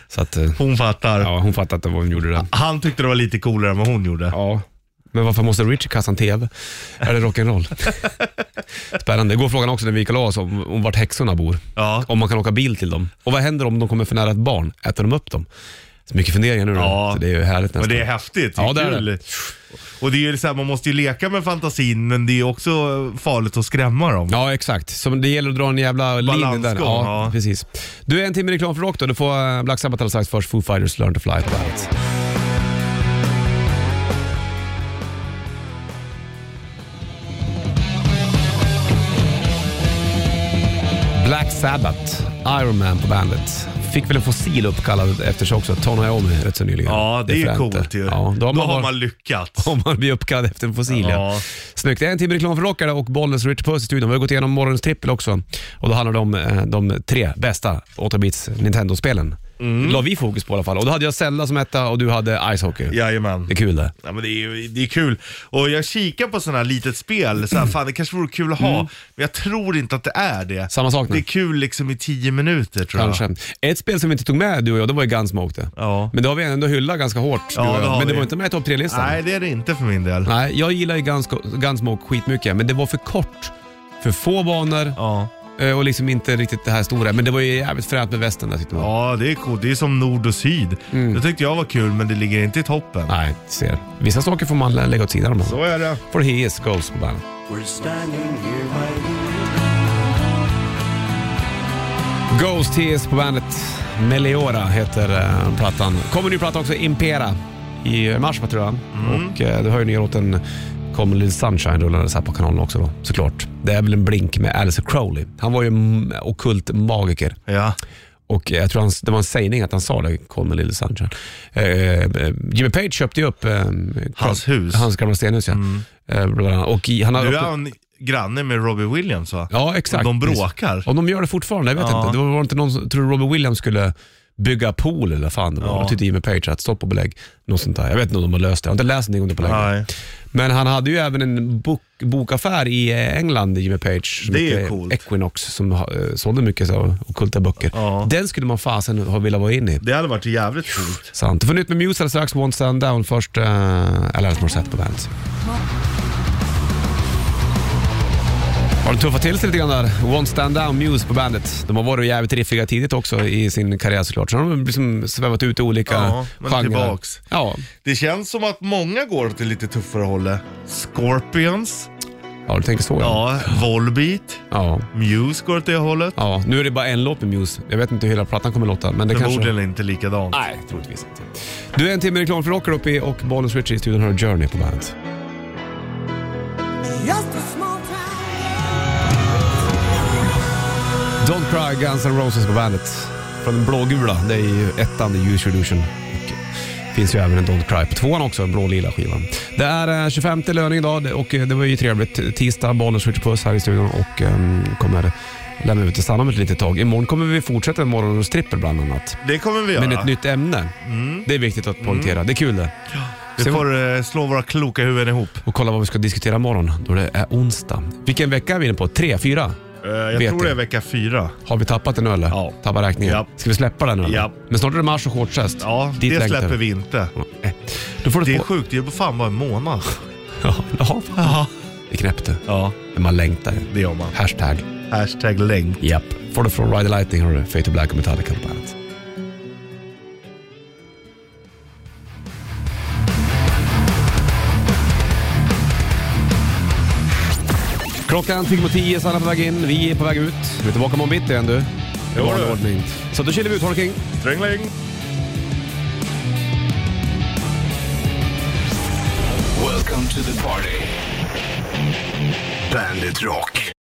B: Så att, eh,
C: hon fattar.
B: ja, hon fattade att det var hon gjorde det.
C: Han tyckte det var lite coolare än vad hon gjorde.
B: Ja. Men varför måste Richie kasta en TV? Är det rock'n'roll? Spännande. Går frågan också när vi gick och la oss om, om vart häxorna bor.
C: Ja.
B: Om man kan åka bil till dem. Och vad händer om de kommer för nära ett barn? Äter de upp dem? Så mycket funderingar nu då.
C: Ja.
B: Så det är ju härligt
C: Men
B: nästan.
C: det är häftigt.
B: Ja, det är
C: kul. Och det är ju så här, man måste ju leka med fantasin, men det är ju också farligt att skrämma dem.
B: Ja, exakt. Så det gäller att dra en jävla linje där.
C: Balansgång,
B: Ja,
C: ja.
B: precis. Du, är en timme reklam för rock då. Du får eh, Black Sabbath alldeles strax. Först Foo Fighters Learn to Fly på bandet. Black Sabbath, Iron Man på bandet. Fick väl en fossil uppkallad efter sig också, Tony Iommi rätt så nyligen.
C: Ja, det är ju
B: fränt
C: coolt
B: det.
C: ju.
B: Ja, då har man, bara-
C: lyckats.
B: om man blir uppkallad efter en fossil. Ja.
C: Ja.
B: Snyggt. Det är en timme reklam för rockare och Bollnäs och Richard Puss i studion. Vi har gått igenom morgonens trippel också. Och då handlar det om eh, de tre bästa 8-bits Nintendo-spelen.
C: Mm.
B: La vi fokus på i alla fall. Och då hade jag Zelda som etta och du hade Ice Hockey.
C: Jajamän.
B: Det är kul det.
C: Ja, men det, är, ju- det är kul. Och jag kikar på sådana här litet spel, så här, fan det kanske vore kul att ha, men jag tror inte att det är det.
B: Mm. Samma sak nu.
C: Det är kul liksom i tio minuter tror
B: Kanske.
C: jag.
B: Ett spel som vi inte tog med du och jag, det var ju Gunsmoke det.
C: Ja.
B: Men det har vi ändå hyllat ganska hårt. du
C: Ja,
B: och jag.
C: det har
B: Men det
C: vi.
B: var inte med i topp tre-listan.
C: Nej, det är det inte för min del.
B: Nej, jag gillar ju Guns- Gunsmoke skitmycket, men det var för kort. För få banor,
C: Ja.
B: eh, och liksom inte riktigt det här stora. Men det var ju jävligt fränt med västen där tyckte man.
C: Ja, det är coolt. Det är som nord och syd. Det tyckte jag var kul, men det ligger inte i toppen.
B: Mm. Nej, ser. Vissa saker får man lägga åt sidan.
C: Så är det.
B: For he is goals på bandet. Ghost Tears på bandet. Meliora heter eh, plattan. Kommer ny platta också, Impera, i mars va, tror jag.
C: Mm.
B: Och eh, du hör ju nya låten Kommer Little Sunshine rullandes här på kanalen också då, såklart. Det är väl en blink med Alice Crowley. Han var ju mm, ockult magiker.
C: Ja.
B: Och jag tror han, det var en sägning att han sa det, Kommer Little Sunshine. Eh, eh, Jimmy Page köpte ju upp eh,
C: Hans hus.
B: Hans gamla stenhus ja. Eh, bland annat. och i, han har
C: Du
B: också-
C: är han granne med Robbie Williams va?
B: Ja, exakt.
C: De bråkar.
B: Om de gör det fortfarande, jag vet
C: Ja.
B: inte. Det var var inte någon som, tror Robert Williams skulle bygga pool eller vad fan det var.
C: Ja.
B: Då tyckte Jimmy Page att stopp och belägg. Något sånt där. Jag vet inte om de har löst det. Jag har inte läst någonting om det på länge.
C: Nej.
B: Men han hade ju även en bok, bokaffär i eh, England, Jimmy Page. Som
C: Det är ju
B: hette
C: coolt.
B: Equinox, som eh, sålde mycket så ockulta böcker.
C: Ja.
B: Den skulle man fasen ha velat vara inne i.
C: Det hade varit jävligt coolt.
B: Sant. Du får nytt med Muse alldeles strax. Once and down först. Uh, Alanis Morissette på bandet. Har de tuffat till sig lite grann där? One Stand Down Muse på bandet. De har varit jävligt riffiga tidigt också i sin karriär såklart. Så har de liksom svävat ut i olika
C: Ja, men
B: genrer.
C: tillbaks.
B: Ja.
C: Det känns som att många går åt det lite tuffare hållet. Scorpions,
B: ja, du tänker så ja.
C: ja, Volbeat,
B: ja.
C: Muse går åt det hållet.
B: Ja, nu är det bara en låt med Muse. Jag vet inte hur hela plattan kommer låta, men det kanske...
C: Förmodligen inte likadant.
B: Nej, troligtvis inte. Du är en timme reklam för Rocker uppe i och Bonus Richie i studion har Journey på bandet. Don't Cry, Guns N' Roses på bandet. Från den blågula, det är ju ettan, The Use Your Illusion. Och finns ju även en Don't Cry på tvåan också, den blålila skivan. Det är eh, 25 löning idag och eh, det var ju trevligt. Tisdag, Bollnäs skjuter puss här i studion och um, kommer lämna ut till Sanna om ett litet tag. Imorgon kommer vi fortsätta med morgonens trippel bland annat.
C: Det kommer vi göra.
B: Men ett nytt ämne.
C: Mm.
B: Det är viktigt att poängtera. Det är kul det.
C: Vi
B: Sen-
C: får eh, slå våra kloka huvuden ihop.
B: Och kolla vad vi ska diskutera imorgon, då det är onsdag. Vilken vecka är vi inne på? Tre, fyra?
C: Eh, jag
B: Vet
C: tror det
B: det.
C: är vecka fyra.
B: Har vi tappat en öl?
C: Ja.
B: Tappat räkningen?
C: Ja.
B: Ska vi släppa den nu? eller?
C: Ja.
B: Men snart är det mars och shortstest.
C: Ja,
B: Dit
C: det
B: längtar
C: släpper vi inte.
B: Nej. Då får
C: Det
B: du
C: är
B: på...
C: sjukt, det är fan bara en månad.
B: Ja, ja, fan.
C: Ja.
B: Det är knäppt det.
C: ja,
B: Men man längtar ju.
C: det gör man.
B: Hashtag.
C: Hashtag länk.
B: Japp. Får du från Ride the Lightning har du Fate of Black och Metallica på bandet. Klockan tickar mot tio, Sanna är på väg in, vi är på väg ut. Vi är tillbaka imorgon bitti igen du.
C: Jo,
B: Vanlig
C: du.
B: ordning. Så då kilar vi ut, Holking.
C: Strängling.
A: Welcome to the party. Bandit Rock.